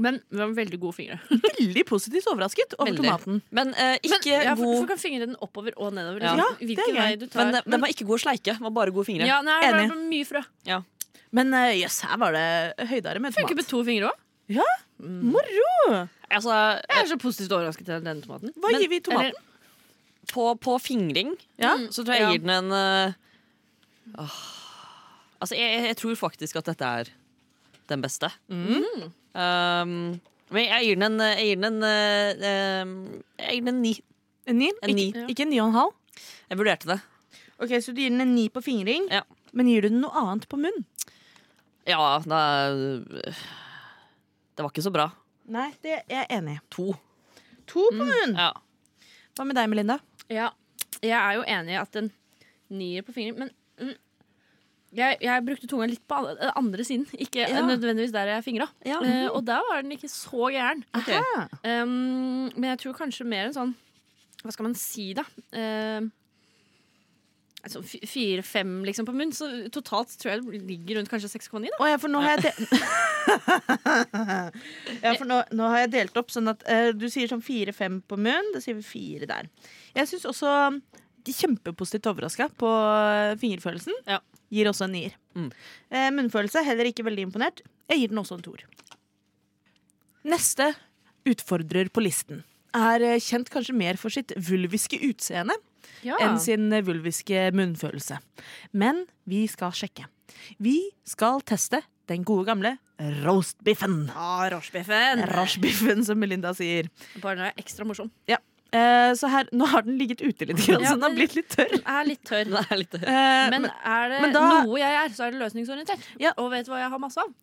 [SPEAKER 2] Men vi har veldig gode fingre.
[SPEAKER 1] Veldig positivt overrasket over
[SPEAKER 3] Veldig.
[SPEAKER 1] tomaten.
[SPEAKER 3] Men eh, ikke
[SPEAKER 2] ja, for,
[SPEAKER 3] god
[SPEAKER 2] for kan fingre den oppover og nedover.
[SPEAKER 3] Ja.
[SPEAKER 2] liksom.
[SPEAKER 1] Ja, det er
[SPEAKER 2] Hvilken vei
[SPEAKER 1] gøy.
[SPEAKER 2] du tar.
[SPEAKER 3] Men eh, den var ikke god å sleike. Den var bare gode fingre.
[SPEAKER 2] ja, nei, det
[SPEAKER 1] Enig.
[SPEAKER 2] var mye frø.
[SPEAKER 1] Men eh, jøss, her var det høydere med
[SPEAKER 2] Funker
[SPEAKER 1] tomat.
[SPEAKER 2] med to fingre òg.
[SPEAKER 1] Moro!
[SPEAKER 3] Altså, eh,
[SPEAKER 2] Jeg er så positivt overrasket av denne tomaten.
[SPEAKER 1] Hva gir vi tomaten?
[SPEAKER 2] Eller,
[SPEAKER 3] på, på fingring mm,
[SPEAKER 1] Ja.
[SPEAKER 3] så tror jeg
[SPEAKER 2] Ja.
[SPEAKER 3] jeg gir den en eh, åh. Altså, jeg, jeg- jeg tror faktisk at dette er den beste. Um, men jeg gir den en eh, Jeg gir den en, eh, eh, jeg gir den en ni.
[SPEAKER 1] En ni?
[SPEAKER 3] En ni.
[SPEAKER 1] Ikke en ni og en halv?
[SPEAKER 3] Jeg vurderte det.
[SPEAKER 2] Å
[SPEAKER 1] Ok, Så du gir den en ni på fingring,
[SPEAKER 3] Ja.
[SPEAKER 1] men gir du den noe annet på munn?
[SPEAKER 3] Ja, det er Det var ikke så bra.
[SPEAKER 1] Nei, det er jeg enig i.
[SPEAKER 3] To.
[SPEAKER 1] To på munn!
[SPEAKER 3] Ja.
[SPEAKER 1] Hva med deg, Melinda?
[SPEAKER 2] Ja, jeg er jo enig i at en nier på fingeren, men mm, jeg, jeg brukte tunga litt på an- eh, andre siden, ikke eh,
[SPEAKER 1] Ja.
[SPEAKER 2] nødvendigvis der jeg fingra.
[SPEAKER 1] Ja.
[SPEAKER 2] Eh, og der var den ikke så gæren.
[SPEAKER 1] Aha.
[SPEAKER 2] Um, men jeg tror kanskje mer en sånn Hva skal man si, da? Um, altså fi- Fire-fem liksom på munn. Så totalt tror jeg det ligger rundt kanskje 6,9. da
[SPEAKER 1] Å ja, for nå har jeg delt Ja, for nå, nå har jeg delt opp sånn at eh, du sier sånn fire-fem på munn, da sier vi fire der. Jeg syns også um, de er kjempepositivt overraska på eh, fingerfølelsen.
[SPEAKER 2] Ja.
[SPEAKER 1] Gir også en nier.
[SPEAKER 3] Mm.
[SPEAKER 1] Eh, munnfølelse heller ikke veldig imponert. Jeg gir den også en toer. Neste utfordrer på listen er eh, kjent kanskje mer for sitt vulviske utseende enn sin vulviske munnfølelse. Men vi skal sjekke. Vi skal teste den gode gamle roastbiffen.
[SPEAKER 2] Ah, Rochebiffen!
[SPEAKER 1] Rashbiffen, som Melinda sier.
[SPEAKER 2] Bare den er ekstra morsom.
[SPEAKER 1] Eh, så her, nå har den ligget ute litt, grann, så den har blitt litt tørr.
[SPEAKER 2] Den er litt tørr.
[SPEAKER 3] Det er litt
[SPEAKER 1] Eh,
[SPEAKER 2] Men
[SPEAKER 1] men,
[SPEAKER 2] er det
[SPEAKER 1] men da-
[SPEAKER 2] noe jeg er, så er det løsningsorientert.
[SPEAKER 1] Ja.
[SPEAKER 2] Og vet du hva jeg har masse av?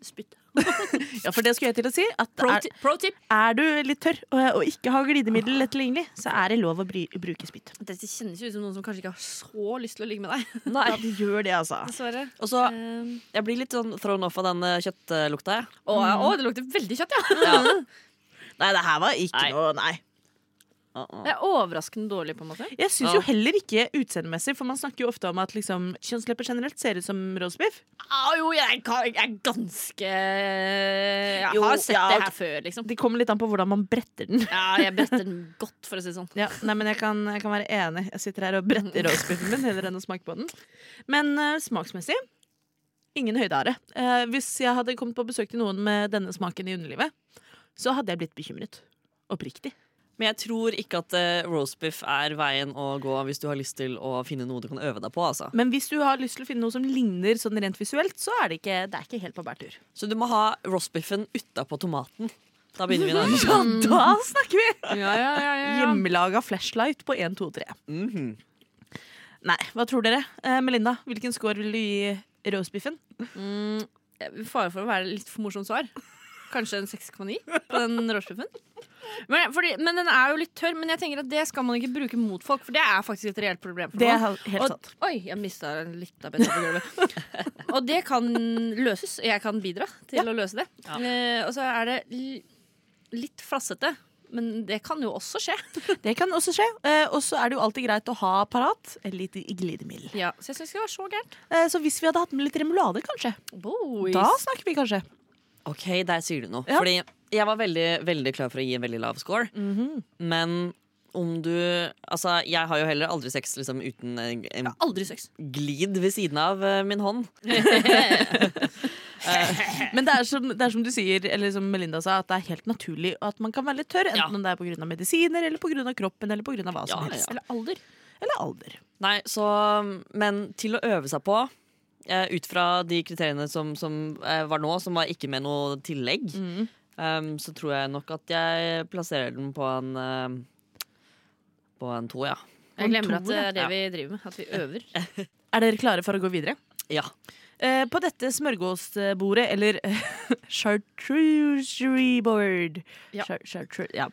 [SPEAKER 2] Spytt.
[SPEAKER 1] ja, for det skulle jeg til å si. At
[SPEAKER 2] Pro,
[SPEAKER 1] er,
[SPEAKER 2] ti- pro tip!
[SPEAKER 1] er du litt tørr og, og ikke har glidemiddel lett tilgjengelig, så er det lov å bry, bruke spytt.
[SPEAKER 2] Dette kjennes jo ut som noen som kanskje ikke har så lyst til å ligge med deg.
[SPEAKER 3] Nei.
[SPEAKER 1] Ja, det gjør det, altså.
[SPEAKER 2] Dessverre.
[SPEAKER 3] Og så
[SPEAKER 2] Um,
[SPEAKER 3] Jeg blir litt sånn thrown off av den eh, kjøttlukta, jeg.
[SPEAKER 2] å, ja, å, det lukter veldig kjøtt, ja!
[SPEAKER 3] Ja.
[SPEAKER 1] Nei, det her var ikke
[SPEAKER 3] Nei.
[SPEAKER 1] noe Nei.
[SPEAKER 3] Uh-uh.
[SPEAKER 2] Det er overraskende dårlig, på en måte.
[SPEAKER 1] Jeg syns
[SPEAKER 3] Ja.
[SPEAKER 1] jo heller ikke utseendemessig, for man snakker jo ofte om at liksom, kjønnslepper generelt ser ut som roastbiff.
[SPEAKER 2] Ah, jo, jeg, kan, jeg er ganske Jeg
[SPEAKER 1] Jo,
[SPEAKER 2] har sett
[SPEAKER 1] ja,
[SPEAKER 2] det
[SPEAKER 1] ok.
[SPEAKER 2] her før, liksom.
[SPEAKER 1] Det kommer litt an på hvordan man bretter den.
[SPEAKER 2] Ja, jeg bretter den godt, for å si det sånn.
[SPEAKER 1] Ja, nei, men jeg kan, jeg kan være enig. Jeg sitter her og bretter roastbiffen min heller enn å smake på den. Men eh, smaksmessig ingen høydehare. Eh, hvis jeg hadde kommet på besøk til noen med denne smaken i underlivet, så hadde jeg blitt bekymret. Oppriktig.
[SPEAKER 3] Men jeg tror ikke at eh, roastbiff er veien å gå hvis du har lyst til å finne noe du kan øve deg på. altså.
[SPEAKER 1] Men hvis du har lyst til å finne noe som ligner sånn rent visuelt, så er det ikke, det er ikke helt på bærtur.
[SPEAKER 3] Så du må ha roastbiffen utapå tomaten. Da begynner vi nærmest.
[SPEAKER 1] Ja, da snakker vi!
[SPEAKER 2] Ja, ja, ja, ja, ja.
[SPEAKER 1] Hjemmelaga flashlight på 1, 2, 3. Nei, hva tror dere? Eh, Melinda, hvilken score vil du gi roastbiffen?
[SPEAKER 2] Jeg- Fare for å være litt for morsomt svar. Kanskje en 6,9 på den rochebiffen. Men, fordi- men den er jo litt tørr, men jeg tenker at det skal man ikke bruke mot folk, for det er faktisk et reelt problem. For
[SPEAKER 1] Det er
[SPEAKER 2] noen.
[SPEAKER 1] helt
[SPEAKER 2] og,
[SPEAKER 1] sant.
[SPEAKER 2] Oi, jeg mista litt av betta på gulvet. og det kan løses. og Jeg kan bidra til å løse det. Eh, og så er det l litt flassete, men det kan jo også skje.
[SPEAKER 1] Det kan også skje. Eh, og så er det jo alltid greit å ha parat et lite glidemiddel.
[SPEAKER 2] Ja, så jeg syns ikke det var så gærent.
[SPEAKER 1] Eh, så hvis vi hadde hatt med litt remulade, kanskje.
[SPEAKER 2] Boys.
[SPEAKER 1] Da snakker vi kanskje.
[SPEAKER 3] Ok, der sier du noe.
[SPEAKER 1] Ja.
[SPEAKER 3] Fordi jeg var veldig, veldig klar for å gi en veldig lav score. Men om du Altså, jeg har jo heller aldri sex liksom, uten en, en
[SPEAKER 2] Aldri sex.
[SPEAKER 3] glid ved siden av eh, min hånd.
[SPEAKER 1] Men det er, som, det er som du sier, eller som Melinda sa, at det er helt naturlig at man kan være litt tørr. Enten
[SPEAKER 3] Ja.
[SPEAKER 1] om det er pga. medisiner, eller pga. kroppen, eller pga. hva som
[SPEAKER 3] Ja,
[SPEAKER 1] helst.
[SPEAKER 3] ja.
[SPEAKER 2] Eller alder.
[SPEAKER 1] Eller alder.
[SPEAKER 3] Nei, så Men til å øve seg på eh, ut fra de kriteriene som, som eh, var nå, som var ikke med noe tillegg,
[SPEAKER 2] Mm.
[SPEAKER 3] eh, så tror jeg nok at jeg plasserer den på en eh, På en to, ja.
[SPEAKER 2] Jeg glemmer at det er det
[SPEAKER 3] ja.
[SPEAKER 2] vi driver med. At vi øver.
[SPEAKER 1] Er dere klare for å gå videre?
[SPEAKER 3] Ja.
[SPEAKER 1] Eh, på dette smørgåsbordet, eller chartreuseboard
[SPEAKER 2] Ja.
[SPEAKER 1] Char chartreuse, ja.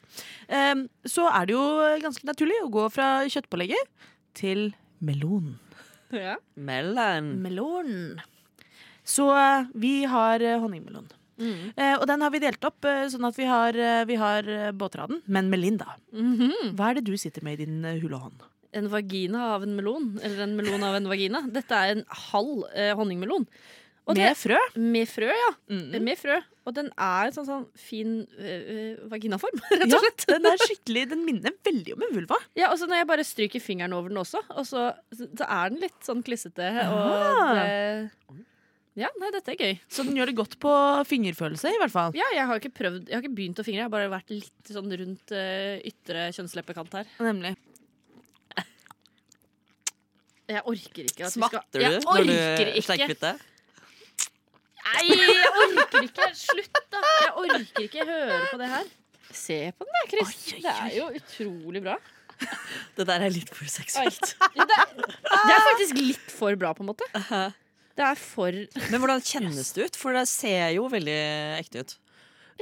[SPEAKER 1] Em, Så er det jo ganske naturlig å gå fra kjøttpålegget til melon.
[SPEAKER 2] Ja.
[SPEAKER 3] Melon.
[SPEAKER 1] Melon. Så eh, vi har eh, honningmelon.
[SPEAKER 2] Mm.
[SPEAKER 1] Eh, og den har vi delt opp, eh, sånn at vi har, eh, vi har eh, båtraden. Men Melinda,
[SPEAKER 2] Mm-hmm.
[SPEAKER 1] hva er det du sitter med i din eh, hule hånd?
[SPEAKER 2] En vagina av en melon. Eller en melon av en vagina. Dette er en halv eh, honningmelon. Og
[SPEAKER 1] Med Mm. frø?
[SPEAKER 2] det, med frø, ja. Eh, Med frø. Og den er en sånn, sånn fin eh, eh, vaginaform, rett
[SPEAKER 1] Ja,
[SPEAKER 2] og slett.
[SPEAKER 1] den, er skikkelig, den minner veldig om en vulva.
[SPEAKER 2] Ja, og så når jeg bare stryker fingeren over den også, og så, så er den litt sånn klissete.
[SPEAKER 1] Ah.
[SPEAKER 2] Og det, ja, nei, dette er gøy.
[SPEAKER 1] Så den gjør det godt på fingerfølelse, i hvert fall.
[SPEAKER 2] Ja, jeg har ikke prøvd, jeg har ikke begynt å fingre, jeg har bare vært litt sånn rundt eh, ytre kjønnsleppekant her.
[SPEAKER 1] Nemlig.
[SPEAKER 2] Jeg orker ikke at vi
[SPEAKER 3] Smatter
[SPEAKER 2] skal
[SPEAKER 3] du
[SPEAKER 2] Jeg
[SPEAKER 3] når
[SPEAKER 2] orker
[SPEAKER 3] du
[SPEAKER 2] ikke.
[SPEAKER 3] slenger ut det?
[SPEAKER 2] Nei, jeg orker ikke. Slutt, da. Jeg orker ikke høre på det her. Se på den der, Chris. Det er jo utrolig bra.
[SPEAKER 3] Det der er litt for seksuelt.
[SPEAKER 2] Ja, det, det er faktisk litt for bra, på en måte. Det er for Jeg
[SPEAKER 3] Men hvordan kjennes det ut? For det ser jo veldig ekte ut.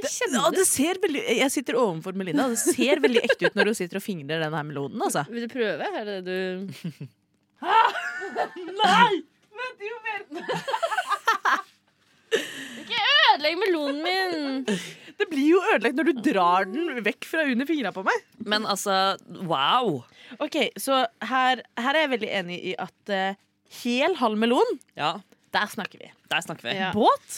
[SPEAKER 1] Ja,
[SPEAKER 2] kjenner det.
[SPEAKER 1] det ser veldig, jeg sitter overfor Melinda, og det ser veldig ekte ut når hun sitter og fingrer den her meloden. Altså.
[SPEAKER 2] Vil du prøve? Er det du Nei! Vent, jo mer Ikke ødelegg melonen min!
[SPEAKER 1] Det blir jo ødelagt når du drar den vekk fra under fingra på meg.
[SPEAKER 3] Men altså, wow!
[SPEAKER 1] Ok, Så her, her er jeg veldig enig i at eh, hel halv melon,
[SPEAKER 3] Ja,
[SPEAKER 1] der snakker vi.
[SPEAKER 3] der snakker vi.
[SPEAKER 2] Ja.
[SPEAKER 1] Båt?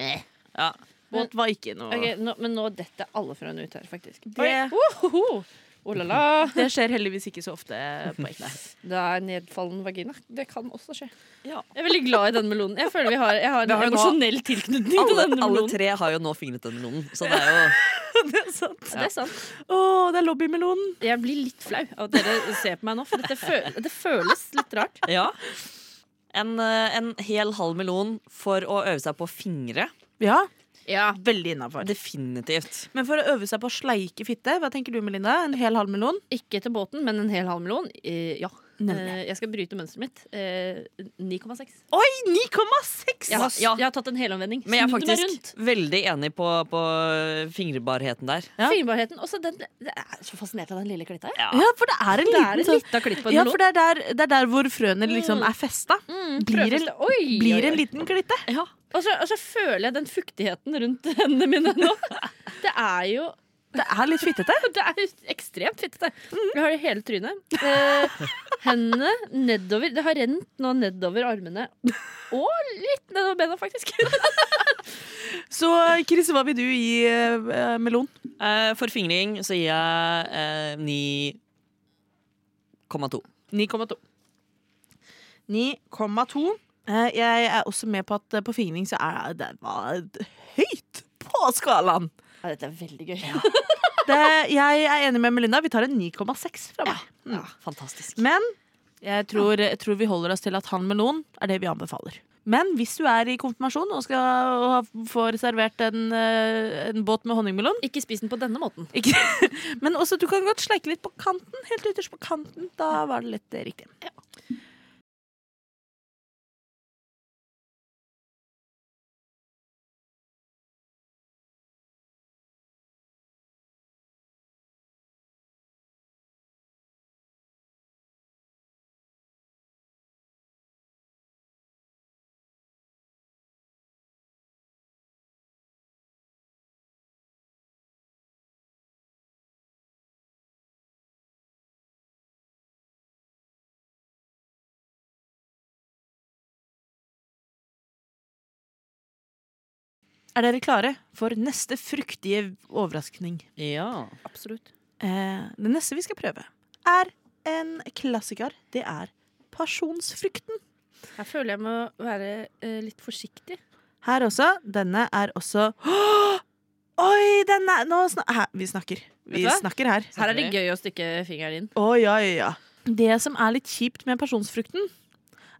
[SPEAKER 3] Ja.
[SPEAKER 1] Båt var ikke noe
[SPEAKER 2] Eh. Ok, nå, men nå detter alle fra henne ut her, faktisk.
[SPEAKER 1] Det-
[SPEAKER 2] Oi, wohoho! Oh la la!
[SPEAKER 1] Det skjer heldigvis ikke så ofte på ekte.
[SPEAKER 2] Det er nedfallen vagina. Det kan også skje.
[SPEAKER 3] Ja.
[SPEAKER 2] Jeg er veldig glad i den melonen. Jeg føler vi har, jeg har en
[SPEAKER 3] Vi har jo nå-
[SPEAKER 2] emosjonell tilknytning til
[SPEAKER 3] Alle,
[SPEAKER 2] den
[SPEAKER 3] alle
[SPEAKER 2] melonen.
[SPEAKER 3] tre har jo nå fingret den melonen, så det er jo
[SPEAKER 1] det er sant.
[SPEAKER 2] Ja, det er sant.
[SPEAKER 1] Å, det er lobbymelonen.
[SPEAKER 2] Jeg blir litt flau av at dere ser på meg nå, for dette føl det føles litt rart.
[SPEAKER 3] Ja. En, eh, en hel halv melon for å øve seg på å fingre.
[SPEAKER 1] Ja,
[SPEAKER 2] Ja.
[SPEAKER 1] veldig innafor.
[SPEAKER 3] Definitivt.
[SPEAKER 1] Men for å øve seg på å sleike fitte, hva tenker du Melinda? En hel halv melon?
[SPEAKER 2] Ikke til båten, men en hel halv melon. Eh, ja.
[SPEAKER 1] Nemlig.
[SPEAKER 2] Eh, jeg skal bryte mønsteret mitt. Eh, 9,6.
[SPEAKER 1] Oi, 9,6!
[SPEAKER 2] Jeg, har-
[SPEAKER 3] Ja.
[SPEAKER 2] jeg har tatt en helomvending.
[SPEAKER 3] Men jeg er
[SPEAKER 2] Snudd meg
[SPEAKER 3] faktisk
[SPEAKER 2] rundt.
[SPEAKER 3] veldig enig på, på fingerbarheten der.
[SPEAKER 1] Ja.
[SPEAKER 2] Finbarheten. Også den, jeg er så fascinert av den lille klitta. Jeg.
[SPEAKER 1] Ja, for det er en
[SPEAKER 2] Det er
[SPEAKER 1] liten
[SPEAKER 2] en
[SPEAKER 1] sånn
[SPEAKER 2] lita klitt på en
[SPEAKER 1] Ja,
[SPEAKER 2] melon.
[SPEAKER 1] for det er der, det er der hvor frøene liksom er festa. blir, en,
[SPEAKER 2] prøveste. Oi, oi,
[SPEAKER 1] blir
[SPEAKER 2] Mm. oi.
[SPEAKER 1] en liten glitte.
[SPEAKER 2] Og så, og så føler jeg den fuktigheten rundt hendene mine nå. Det er jo
[SPEAKER 1] Det er litt fittete.
[SPEAKER 2] Det er jo ekstremt fittete. Jeg har det i hele trynet. Eh, hendene nedover. Det har rent nå nedover armene. Og litt nedover bena, faktisk.
[SPEAKER 1] Så Chris, hva vil du gi eh, melon?
[SPEAKER 3] Eh, For fingring så gir jeg eh, 9,2.
[SPEAKER 1] 9,2. 9,2. Eh, Jeg er også med på at eh, på fingring så er det var høyt på skalaen.
[SPEAKER 2] Ja, dette er veldig gøy.
[SPEAKER 1] Det, jeg er enig med Melinda. Vi tar en 9,6 fra meg.
[SPEAKER 3] Ja, fantastisk.
[SPEAKER 1] Men jeg tror, jeg tror vi holder oss til at han melon er det vi anbefaler. Men hvis du er i konfirmasjon og, skal, og har- får servert en, eh, en båt med honningmelon
[SPEAKER 2] Ikke spis den på denne måten.
[SPEAKER 1] ikke, Men også du kan godt sleike litt på kanten. Helt ytterst på kanten. Da var det litt eh, riktig. Er dere klare for neste fruktige overraskning?
[SPEAKER 3] Ja.
[SPEAKER 2] Absolutt.
[SPEAKER 1] Eh, det neste vi skal prøve, er en klassiker. Det er pasjonsfrukten.
[SPEAKER 2] Her føler jeg må være eh, litt forsiktig.
[SPEAKER 1] Her også. Denne er også Åh! Oi, den er Nå sna her, vi snakker. Vi
[SPEAKER 2] du hva?
[SPEAKER 1] snakker her.
[SPEAKER 2] Her er det gøy å stikke fingeren inn.
[SPEAKER 1] Å, ja, ja, ja. Det som er litt kjipt med pasjonsfrukten,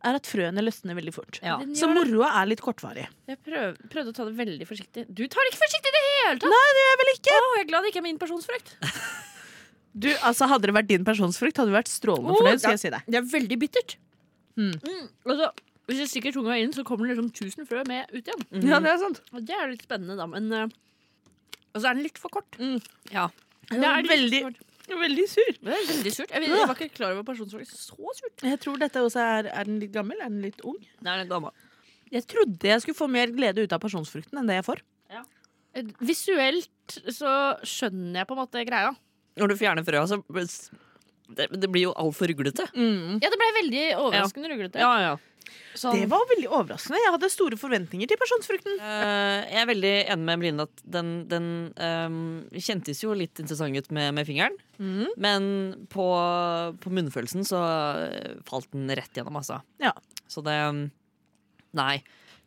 [SPEAKER 1] er at frøene løsner veldig fort.
[SPEAKER 3] Ja.
[SPEAKER 2] Den
[SPEAKER 1] Så
[SPEAKER 2] gjør det.
[SPEAKER 1] moroa er litt kortvarig.
[SPEAKER 2] Jeg prøv, prøvde å ta det veldig forsiktig. Du tar det ikke forsiktig i det hele tatt!
[SPEAKER 1] Nei, det er vel ikke
[SPEAKER 2] Å, jeg er glad det ikke er min personsfrukt.
[SPEAKER 1] Du, altså Hadde det vært din pasjonsfrukt, hadde du vært strålende fornøyd. skal jeg si deg.
[SPEAKER 2] Det er veldig bittert.
[SPEAKER 1] Mm.
[SPEAKER 2] Altså, hvis jeg stikker tunga inn, så kommer det liksom 1000 frø med ut igjen.
[SPEAKER 1] Ja, det er sant.
[SPEAKER 2] Og det er litt spennende, da. Men eh, Og så er den litt for kort.
[SPEAKER 1] Mm.
[SPEAKER 2] Ja. Det
[SPEAKER 1] var
[SPEAKER 2] er veldig,
[SPEAKER 1] veldig- Veldig sur.
[SPEAKER 2] det er veldig surt. Jeg, vet- jeg var ikke klar over Sånn personsfrukt. Så surt.
[SPEAKER 1] Jeg tror dette også er Er den litt gammel? Er den litt ung?
[SPEAKER 3] Det er litt gammel.
[SPEAKER 1] Jeg trodde jeg skulle få mer glede ut av pasjonsfrukten enn det jeg får.
[SPEAKER 2] Eh, Visuelt så skjønner jeg på en måte greia.
[SPEAKER 3] Når du fjerner frøa, så det, det blir jo altfor ruglete.
[SPEAKER 2] Ja, det ble veldig overraskende ruglete.
[SPEAKER 3] ja.
[SPEAKER 2] Sånn-
[SPEAKER 1] Det var veldig overraskende. Jeg hadde store forventninger til pasjonsfrukten.
[SPEAKER 3] Eh, jeg er veldig enig med Bline at den, den eh, kjentes jo litt interessant ut med, med fingeren. Men på, på munnfølelsen så eh, falt den rett gjennom, altså.
[SPEAKER 1] Ja.
[SPEAKER 3] Så det ehm, Nei.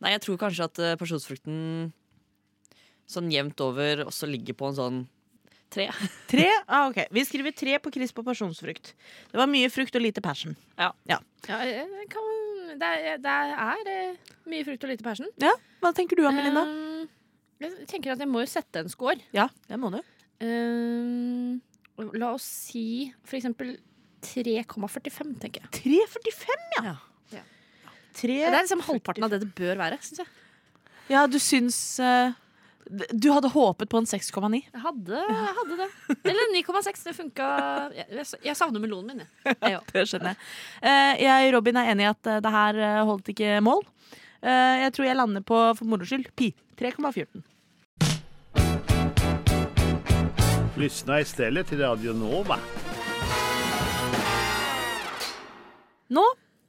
[SPEAKER 3] Nei, jeg tror kanskje at eh, pasjonsfrukten sånn jevnt over også ligger på en sånn tre.
[SPEAKER 1] Tre? Ah, ok. Vi skriver tre på Chris på pasjonsfrukt. Det var mye frukt og lite passion.
[SPEAKER 2] Ja, eh, det kan, det, er, det er eh, mye frukt og lite Um, persen.
[SPEAKER 1] Ja, Hva tenker du om Melinda?
[SPEAKER 2] Eh, jeg tenker at jeg må jo sette en score.
[SPEAKER 1] Ja, det må du.
[SPEAKER 2] Eh, og La oss si for eksempel 3,45, tenker jeg.
[SPEAKER 1] 3,45, ja.
[SPEAKER 2] Ja.
[SPEAKER 1] Tre-
[SPEAKER 2] Det er liksom halvparten av det det bør være, syns jeg.
[SPEAKER 1] Ja, du syns eh, d- Du hadde håpet på en 6,9.
[SPEAKER 2] Jeg hadde, jeg hadde det. Eller 9,6. Det funka. Jeg, jeg, jeg savner melonen min, jeg. jeg. òg.
[SPEAKER 1] Det skjønner jeg. Eh, jeg og Robin er enig i at eh, det her eh, holdt ikke mål. Eh, jeg tror jeg lander på, for moro skyld, pi. 3,14.
[SPEAKER 5] Lyssna istället till Radio Nova.
[SPEAKER 1] Nå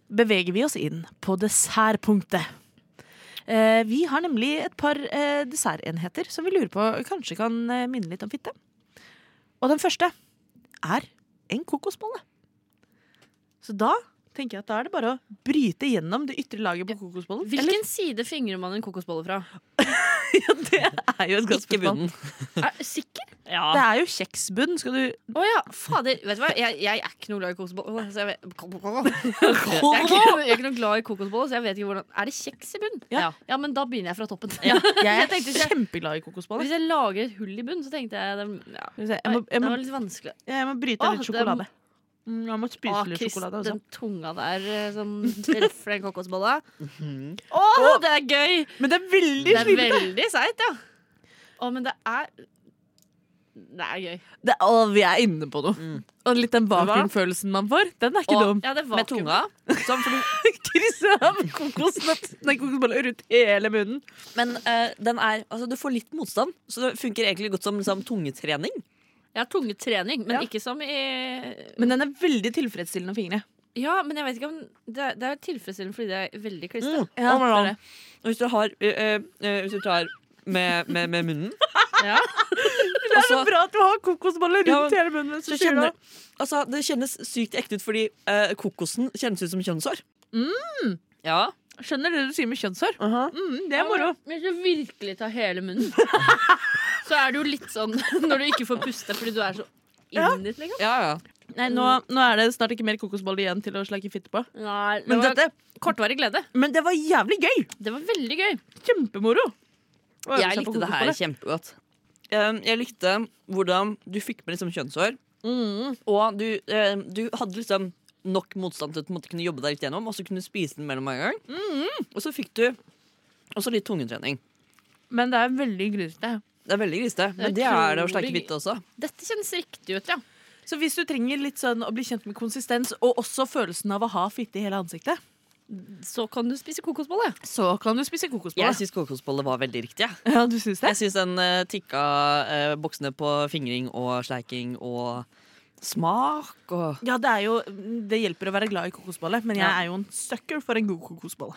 [SPEAKER 1] beveger vi oss inn på dessertpunktet. Eh, vi har nemlig et par eh, dessertenheter som vi lurer på kanskje kan eh, minne litt om fitte. Og den første er en kokosbolle. Så da tenker jeg at da er det bare å bryte gjennom det ytre laget på kokosbollen.
[SPEAKER 2] Hvilken side fingrer man en kokosbolle fra?
[SPEAKER 1] Eller, det er jo et godt
[SPEAKER 3] Ikke
[SPEAKER 1] spørsmål.
[SPEAKER 3] bunnen.
[SPEAKER 2] Er, sikker?
[SPEAKER 1] Det
[SPEAKER 3] Ja.
[SPEAKER 1] er jo kjeksbunn. Skal du
[SPEAKER 2] Å ja, fader. Vet du hva, jeg, jeg er ikke noe glad i kokosboller. Så jeg, vet, jeg, er ikke, jeg er ikke noe glad i kokosboller, så jeg vet ikke hvordan Er det kjeks i bunn?
[SPEAKER 3] Ja.
[SPEAKER 2] ja men da begynner jeg fra toppen.
[SPEAKER 1] Jeg
[SPEAKER 2] tenkte
[SPEAKER 1] er
[SPEAKER 2] ikke-
[SPEAKER 1] kjempeglad i kokosboller.
[SPEAKER 2] Hvis jeg lager et hull i bunn, så tenkte jeg det, ja.
[SPEAKER 1] Skal vi se, Jeg
[SPEAKER 2] Nei,
[SPEAKER 1] må, jeg
[SPEAKER 2] det
[SPEAKER 1] må,
[SPEAKER 2] var litt vanskelig.
[SPEAKER 1] jeg må bryte
[SPEAKER 2] Å,
[SPEAKER 1] litt
[SPEAKER 2] det er-
[SPEAKER 1] sjokolade. Mm, Jeg må spise
[SPEAKER 2] Å,
[SPEAKER 1] litt
[SPEAKER 2] Chris,
[SPEAKER 1] sjokolade altså. også.
[SPEAKER 2] Den tunga der eh, som treffer den kokosbolla. Å, det er gøy!
[SPEAKER 1] Men det er veldig
[SPEAKER 2] Det er
[SPEAKER 1] slitete!
[SPEAKER 2] veldig seigt, ja. Å, men det er Det er gøy.
[SPEAKER 1] Det- å, vi er inne på noe.
[SPEAKER 3] Mm.
[SPEAKER 1] Og litt den
[SPEAKER 3] hva?
[SPEAKER 1] vakuumfølelsen man får, den er ikke
[SPEAKER 3] Og-
[SPEAKER 1] dum.
[SPEAKER 2] Ja, det var
[SPEAKER 3] Med tunga. Sånn, for du,
[SPEAKER 1] Chris har kokosnøtt- nei, kokosboller rundt hele munnen.
[SPEAKER 3] men eh, den er Altså, du får litt motstand, så det funker egentlig godt som liksom, tungetrening.
[SPEAKER 2] Jeg har tungetrening, men
[SPEAKER 1] Ja.
[SPEAKER 2] ikke som i
[SPEAKER 1] Men den er veldig tilfredsstillende å fingre.
[SPEAKER 2] Ja, men jeg vet ikke om Det er, det er tilfredsstillende fordi det er veldig klissete.
[SPEAKER 1] Ja,
[SPEAKER 3] Oh my
[SPEAKER 1] det er
[SPEAKER 3] God.
[SPEAKER 1] det.
[SPEAKER 3] Og hvis du har eh, eh, Hvis du tar med, med, med munnen
[SPEAKER 2] Ja.
[SPEAKER 1] Det er
[SPEAKER 3] og
[SPEAKER 1] så
[SPEAKER 3] så-
[SPEAKER 1] bra at du har kokosboller rundt
[SPEAKER 3] Ja, men-
[SPEAKER 1] hele munnen. mens du
[SPEAKER 3] så
[SPEAKER 1] kjenner-
[SPEAKER 3] kjenner, altså, Det kjennes sykt ekte ut fordi eh, kokosen kjennes ut som kjønnshår. Mm. Ja.
[SPEAKER 1] Skjønner du det du sier med kjønnshår? Mm, det er moro.
[SPEAKER 2] Hvis du virkelig tar hele munnen, så er det jo litt sånn når du ikke får puste fordi du er så innit, liksom.
[SPEAKER 3] ja, ja.
[SPEAKER 1] Nei, nå, nå er det snart ikke mer kokosboller igjen til å slake fitte på.
[SPEAKER 2] Nei, det
[SPEAKER 1] Men,
[SPEAKER 2] var
[SPEAKER 1] dette,
[SPEAKER 2] kortvarig glede.
[SPEAKER 1] men det var jævlig gøy!
[SPEAKER 2] Det var veldig gøy.
[SPEAKER 1] Kjempemoro. Å øve
[SPEAKER 3] Jeg
[SPEAKER 1] seg på
[SPEAKER 3] likte det her
[SPEAKER 1] kokosboller.
[SPEAKER 3] kjempegodt. Um, jeg likte hvordan du fikk med liksom kjønnshår. Og du, eh, du hadde liksom nok motstand til å på en måte kunne jobbe deg litt gjennom, og så kunne du spise den mellom hver gang. Og så fikk du også litt tungetrening.
[SPEAKER 1] Men det er veldig grisete.
[SPEAKER 3] Det er veldig grisete, men
[SPEAKER 2] Det
[SPEAKER 3] det
[SPEAKER 2] er
[SPEAKER 3] er det å
[SPEAKER 2] utrolig
[SPEAKER 3] sleike fitte også.
[SPEAKER 2] Dette kjennes riktig ut, ja.
[SPEAKER 1] Så hvis du trenger litt sånn å bli kjent med konsistens, og også følelsen av å ha fitte i hele ansiktet,
[SPEAKER 2] Så kan du spise kokosbolle.
[SPEAKER 1] så kan du spise
[SPEAKER 3] Jeg
[SPEAKER 1] kokosboller.
[SPEAKER 3] syns kokosbolle var veldig riktig. jeg.
[SPEAKER 1] Ja, du syns det?
[SPEAKER 3] Jeg syns den eh, tikka eh, boksene på fingring og sleiking og smak og
[SPEAKER 1] Ja, det, er jo, det hjelper å være glad i kokosbolle, men jeg
[SPEAKER 3] Ja.
[SPEAKER 1] er jo en sucker for en god kokosbolle.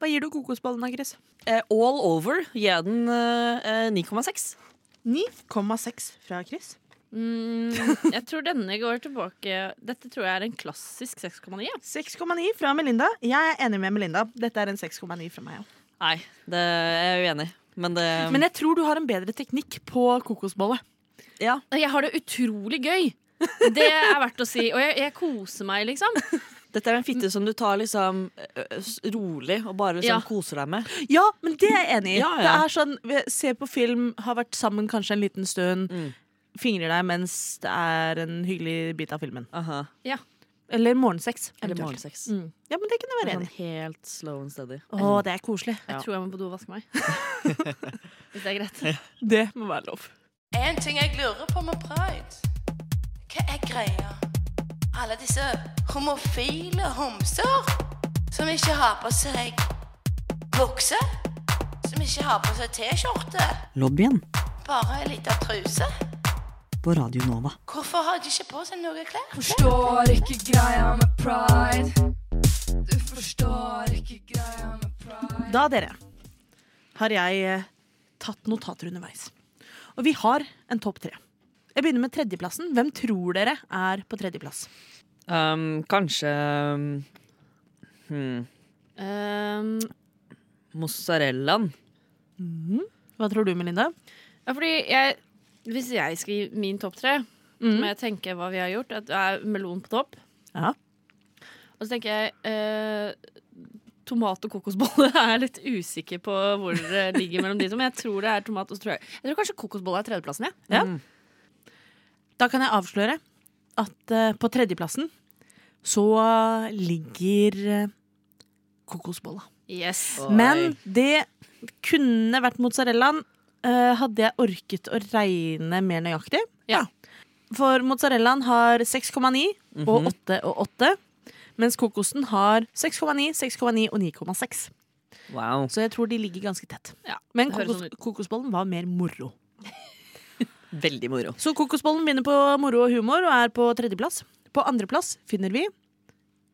[SPEAKER 1] Hva gir du kokosbollen da, Chris?
[SPEAKER 3] Eh, All over gir jeg den eh, eh, 9,6.
[SPEAKER 1] 9,6 fra Chris.
[SPEAKER 2] Mm, jeg tror denne går tilbake Dette tror jeg er en klassisk 6,9. ja.
[SPEAKER 1] 6,9 fra Melinda. Jeg er enig med Melinda. Dette er en 6,9 fra meg òg.
[SPEAKER 3] Nei, det jeg er uenig. Men det
[SPEAKER 1] Men jeg tror du har en bedre teknikk på kokosbolle.
[SPEAKER 3] ja.
[SPEAKER 2] Jeg har det utrolig gøy. Det er verdt å si. Og jeg, jeg koser meg, liksom.
[SPEAKER 3] Dette er en fitte som du tar liksom ø, ø, s- rolig og bare liksom
[SPEAKER 2] Ja.
[SPEAKER 3] koser deg med.
[SPEAKER 1] Ja, men det er jeg enig i.
[SPEAKER 3] Ja, ja.
[SPEAKER 1] Det er sånn, vi Se på film, har vært sammen kanskje en liten stund.
[SPEAKER 3] Mm.
[SPEAKER 1] Fingrer deg mens det er en hyggelig bit av filmen.
[SPEAKER 3] Aha.
[SPEAKER 1] Eller morgensex.
[SPEAKER 3] Eller
[SPEAKER 1] eventuelt.
[SPEAKER 3] morgensex.
[SPEAKER 1] Mm. Ja, men det kunne jeg være enig
[SPEAKER 3] Sånn
[SPEAKER 1] i.
[SPEAKER 3] helt slow and steady.
[SPEAKER 1] Å, det er koselig.
[SPEAKER 2] Jeg tror jeg må på do og vaske meg. Hvis det er greit.
[SPEAKER 1] Det må være lov.
[SPEAKER 7] En ting jeg lurer på med pride. Hva er greia? Alle disse homofile homser som ikke har på seg bukse. Som ikke har på seg T-skjorte,
[SPEAKER 3] Lobbyen
[SPEAKER 7] bare ei lita truse.
[SPEAKER 3] på Radio Nova.
[SPEAKER 7] Hvorfor har de ikke på seg noe klær?
[SPEAKER 8] Forstår ikke greia med pride. Du forstår ikke greia med pride.
[SPEAKER 1] Da, dere, har jeg eh, tatt notater underveis. Og vi har en topp tre. Jeg begynner med tredjeplassen. Hvem tror dere er på tredjeplass?
[SPEAKER 3] Um, kanskje um, hmm,
[SPEAKER 2] Um,
[SPEAKER 3] mozzarellaen.
[SPEAKER 1] Hva tror du, Melinda?
[SPEAKER 2] ja, fordi jeg, hvis jeg skal gi min topp tre, må jeg tenke hva vi har gjort. At det er melon på topp.
[SPEAKER 1] Mm. Ja.
[SPEAKER 2] Og så tenker jeg eh, Tomat og kokosbolle er jeg litt usikker på hvor det
[SPEAKER 3] Mm.
[SPEAKER 2] ligger mellom de to. Men jeg tror det er tomat og så tror jeg, jeg tror kanskje kokosbolle er tredjeplassen, jeg.
[SPEAKER 1] Ja. Da kan jeg avsløre at eh, på tredjeplassen så ligger eh, kokosbolla.
[SPEAKER 2] Yes.
[SPEAKER 1] Men det kunne vært mozzarellaen eh, hadde jeg orket å regne mer nøyaktig.
[SPEAKER 2] Ja.
[SPEAKER 1] For mozzarellaen har 6,9
[SPEAKER 2] Mhm.
[SPEAKER 1] og 8 og 8. Mens kokosen har 6,9, 6,9 og 9,6.
[SPEAKER 3] Wow.
[SPEAKER 1] Så jeg tror de ligger ganske tett.
[SPEAKER 2] Ja,
[SPEAKER 1] Men
[SPEAKER 2] det høres
[SPEAKER 1] kokos,
[SPEAKER 2] sånn ut.
[SPEAKER 1] kokosbollen var mer moro.
[SPEAKER 3] Veldig moro.
[SPEAKER 1] Så kokosbollen begynner på moro og humor og er på tredjeplass. På andreplass finner vi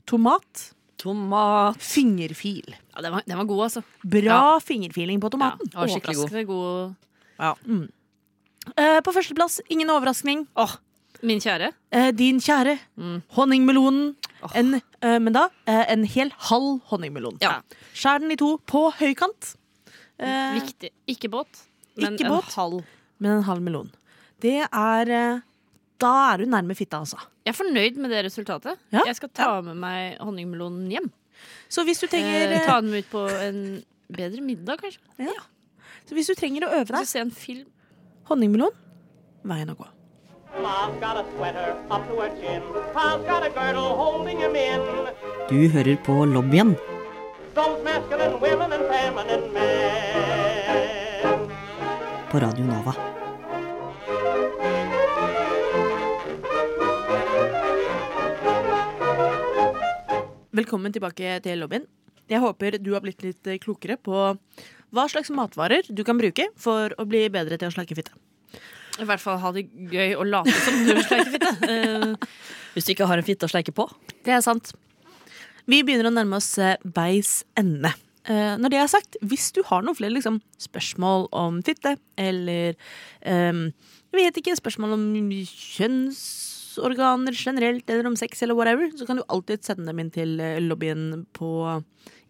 [SPEAKER 1] tomat.
[SPEAKER 3] Tomat.
[SPEAKER 1] Fingerfil.
[SPEAKER 2] Ja, den, var, den var god, altså.
[SPEAKER 1] Bra fingerfiling på
[SPEAKER 2] Ja,
[SPEAKER 1] tomaten.
[SPEAKER 2] den var skikkelig
[SPEAKER 3] Overraskende
[SPEAKER 2] god. god.
[SPEAKER 1] Eh, på førsteplass, ingen overraskning,
[SPEAKER 2] Min kjære.
[SPEAKER 1] eh, din kjære
[SPEAKER 2] Mm.
[SPEAKER 1] honningmelonen. En, eh, men da eh, en hel halv honningmelon.
[SPEAKER 2] Ja.
[SPEAKER 1] Skjær den i to på høykant. Eh,
[SPEAKER 2] Viktig. Ikke båt, men
[SPEAKER 1] Ikke
[SPEAKER 2] en
[SPEAKER 1] båt.
[SPEAKER 2] halv.
[SPEAKER 1] men en halv melon. Det er eh, Da er du nærme fitta, altså.
[SPEAKER 2] Jeg er fornøyd med det resultatet.
[SPEAKER 1] Ja,
[SPEAKER 2] Jeg skal ta med meg honningmelonen hjem.
[SPEAKER 1] Så hvis du trenger,
[SPEAKER 2] Eh,
[SPEAKER 1] eh,
[SPEAKER 2] ta den med ut på en bedre middag, kanskje.
[SPEAKER 1] så hvis du trenger å øve
[SPEAKER 2] Kanskje
[SPEAKER 1] deg,
[SPEAKER 2] Se en film.
[SPEAKER 1] honningmelon veien å gå.
[SPEAKER 9] Mom's got a sweater up to her chin. Pa's got a girdle holding him in.
[SPEAKER 3] Du hører på lobbyen.
[SPEAKER 9] Those masculine women and feminine men.
[SPEAKER 3] på Radio Nova.
[SPEAKER 1] Velkommen tilbake til lobbyen. Jeg håper du har blitt litt klokere på hva slags matvarer du kan bruke for å bli bedre til å slake fitte.
[SPEAKER 2] I hvert fall ha det gøy og late som du sleiker fitte. Eh,
[SPEAKER 3] Hvis du ikke har en fitte å sleike på.
[SPEAKER 1] Det er sant. Vi begynner å nærme oss eh, veis ende. Eh, når det er sagt, hvis du har noen flere liksom, spørsmål om fitte, eller ehm, jeg vet ikke, spørsmål om kjønnsorganer generelt, eller om sex, eller whatever, så kan du alltid sende dem inn til eh, lobbyen på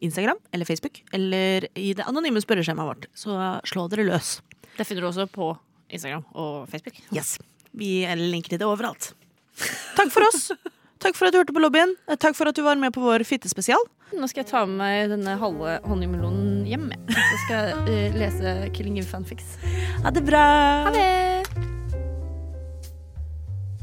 [SPEAKER 1] Instagram eller Facebook, eller i det anonyme spørreskjemaet vårt. Så eh, slå dere løs.
[SPEAKER 2] det finner du også på Instagram og Facebook.
[SPEAKER 1] Yes. Vi eh, linker det overalt. Takk for oss. Takk for at du hørte på lobbyen. Eh, Takk for at du var med på vår fittespesial.
[SPEAKER 2] Nå skal jeg ta med meg denne halve honningmelonen hjem. jeg. Så skal jeg eh, lese Killing Eve Fanfics.
[SPEAKER 1] Ha det bra.
[SPEAKER 2] Ha det!